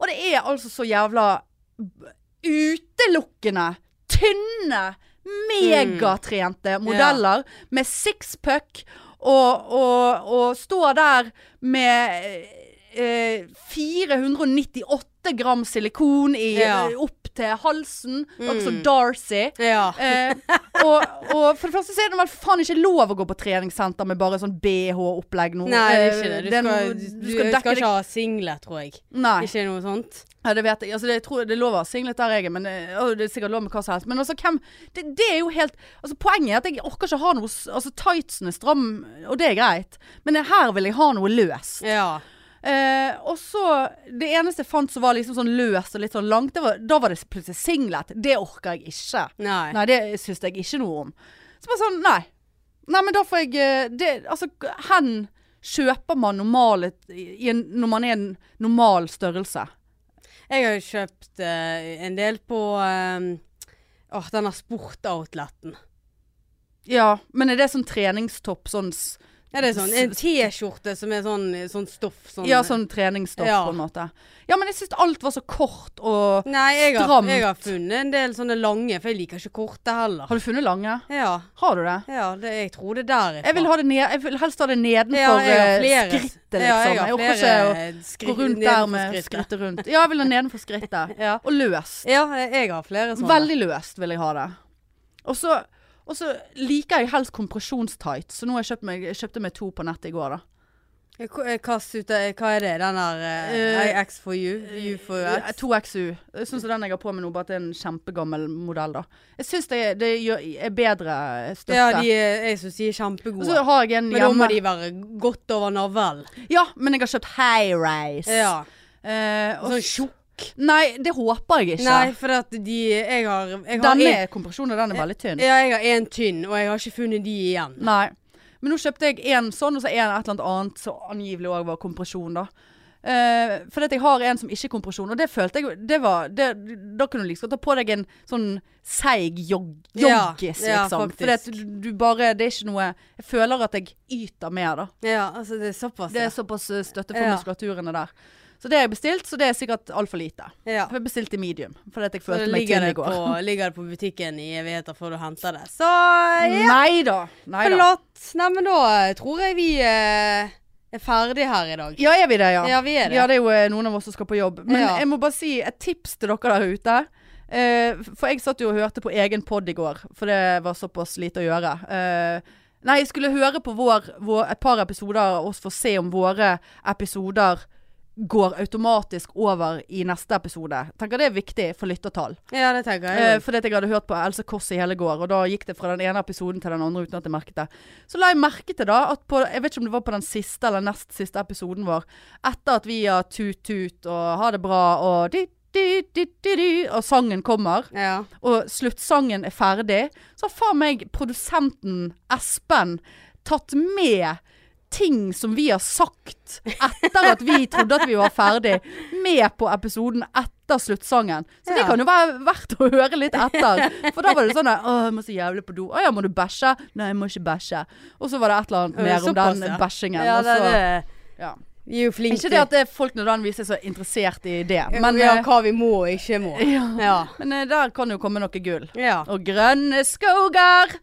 S2: Og det er altså så jævla b- utelukkende tynne,
S1: Mm.
S2: megatrente modeller med sixpack og, og, og står der med eh, eh, 498 gram silikon i,
S1: Ja. Mm.
S2: opp til halsen. Akkurat som Darcy.
S1: Ja.
S2: Eh, og, og for det første så er det vel faen ikke lov å gå på treningssenter med bare sånn BH-opplegg nå.
S1: Nei, det er
S2: Eh,
S1: ikke det. Du
S2: er
S1: skal,
S2: noe-
S1: du,
S2: du skal dekke
S1: ikke ha singlet, tror jeg.
S2: deg Nei.
S1: Ikke noe sånt.
S2: Ja, det vet jeg. Altså, det, jeg tror det er lov å ha singlet der, jeg. Men eh, og det er sikkert lov med hva som helst. Men altså, hvem det, det er jo helt altså, Poenget er at jeg orker ikke ha noe s- Altså, tightsen er stram, og det er greit. Men her vil jeg ha noe løst.
S1: Ja.
S2: Eh, og så Det eneste jeg fant som var liksom sånn løst og litt sånn langt, det var, da var det plutselig singlet. Det orker jeg ikke.
S1: Nei.
S2: Nei, det syns jeg ikke noe om. Så bare sånn, nei. Nei, men da får jeg eh, det, Altså, hen kjøper man normale i en, når man er en normal størrelse?
S1: Jeg har jo kjøpt eh, en del på eh, åh, denne sportoutletten.
S2: Ja, men er det sånn treningstopp, sånn s-
S1: Ja, det er sånn en T-skjorte som er sånn, sånn stoff. Sånn,
S2: Ja, sånn treningstopp
S1: Ja.
S2: på en måte. Ja, men jeg syns alt var så kort og
S1: Nei, jeg har,
S2: stramt.
S1: jeg har funnet en del sånne lange, for jeg liker ikke korte heller.
S2: Har du funnet lange?
S1: Ja,
S2: Har du det?
S1: ja det, jeg tror det er derifra.
S2: Jeg vil, ha det ned, jeg vil helst ha det nedenfor
S1: Ja, jeg har
S2: eh,
S1: flere-
S2: skrittet, liksom.
S1: Ja, jeg
S2: jeg,
S1: har
S2: orker
S1: flere
S2: ikke å
S1: skri-
S2: gå rundt der
S1: nedenfor
S2: med
S1: skrittet.
S2: skrittet rundt. Ja, jeg vil ha nedenfor skrittet.
S1: Ja.
S2: Og løst.
S1: ja, jeg har flere sånne.
S2: Altså, Veldig løst vil jeg ha det. Og så, og så liker jeg helst kompresjonstights, så nå har jeg kjøpt meg, jeg kjøpte meg to på nettet i går, da.
S1: Hva kast ut av- Hva er det? Den der eh, X for you? You for
S2: Eh,
S1: X?
S2: 2XU. Jeg syns den jeg har på meg nå, bare at det er en kjempegammel modell, da. Jeg syns det, det gjør, er bedre støtte.
S1: Ja, de er, jeg syns de er
S2: og så
S1: kjempegode.
S2: har jeg en
S1: Men da må
S2: hjemme.
S1: de være godt over navlen.
S2: Ja, men jeg har kjøpt high rise.
S1: Ja.
S2: Eh, og,
S1: Sånn tjukk.
S2: nei, det håper jeg ikke.
S1: Nei, for at de Jeg har, jeg har
S2: Denne
S1: en,
S2: er kompresjonen, og den er veldig tynn.
S1: Ja, jeg har en tynn, og jeg har ikke funnet de igjen.
S2: Nei. Men nå kjøpte jeg en sånn, og så en et eller annet annet som angivelig òg var kompresjon, da. Eh, for at jeg har en som ikke er kompresjon, og det følte jeg jo- det var, det, Da kunne du liksom ta på deg en sånn seig jog,
S1: Ja,
S2: joggis,
S1: ja,
S2: liksom.
S1: faktisk.
S2: for at du, du bare Det er ikke noe Jeg føler at jeg yter mer, da.
S1: Ja, altså det er såpass.
S2: Det er
S1: ja.
S2: såpass eh, støtte for
S1: Ja.
S2: muskulaturene der. Så det har jeg bestilt, så det er sikkert altfor lite.
S1: ja.
S2: For jeg bestilte medium, fordi at jeg
S1: Så det
S2: følte meg
S1: ligger
S2: tynn i
S1: det,
S2: går.
S1: på, ligger det på butikken i evigheter før du henter det. Så
S2: Mm,
S1: ja,
S2: Nei da. Nei da.
S1: flott. Nei, men da tror jeg vi eh, er ferdige her i dag.
S2: Ja, er vi det, ja?
S1: Ja, vi er det.
S2: Ja, det er jo eh, noen av oss som skal på jobb. Men
S1: Ja.
S2: jeg må bare si et tips til dere der ute. Eh, for jeg satt jo og hørte på egen pod i går, for det var såpass lite å gjøre. Eh, nei, jeg skulle høre på vår, vår, et par episoder av oss for å se om våre episoder går automatisk over i neste episode. Tenker det er viktig for lyttertall.
S1: Ja, det tenker
S2: Eh,
S1: jeg.
S2: fordi at jeg hadde hørt på Else Kåss i hele går, og da gikk det fra den ene episoden til den andre uten at jeg merket det. Så la jeg merke til da at på, jeg vet ikke om det var på den siste eller nest siste episoden vår, etter at vi har tut-tut og ha det bra og di, di, di, di, di, og sangen kommer,
S1: Ja.
S2: og sluttsangen er ferdig, så har faen meg produsenten Espen tatt med ting som vi har sagt etter at vi trodde at vi var ferdig, med på episoden etter sluttsangen. Så det
S1: Ja.
S2: kan jo være verdt å høre litt etter. For da var det sånn der, Å, jeg må så jævlig på do. Å ja, må du bæsje? Nei, jeg må ikke bæsje. Og så var det et eller annet
S1: Ja,
S2: mer om
S1: såpass,
S2: den
S1: ja.
S2: bæsjingen.
S1: ja
S2: og
S1: det,
S2: så-
S1: det.
S2: ja.
S1: Vi er jo flinke
S2: Ikke det at det, folk nødvendigvis er så interessert i det, men,
S1: ja,
S2: eh,
S1: hva vi må og ikke må. Ja.
S2: men eh, der kan jo komme noe gull.
S1: ja.
S2: Og grønne skoger!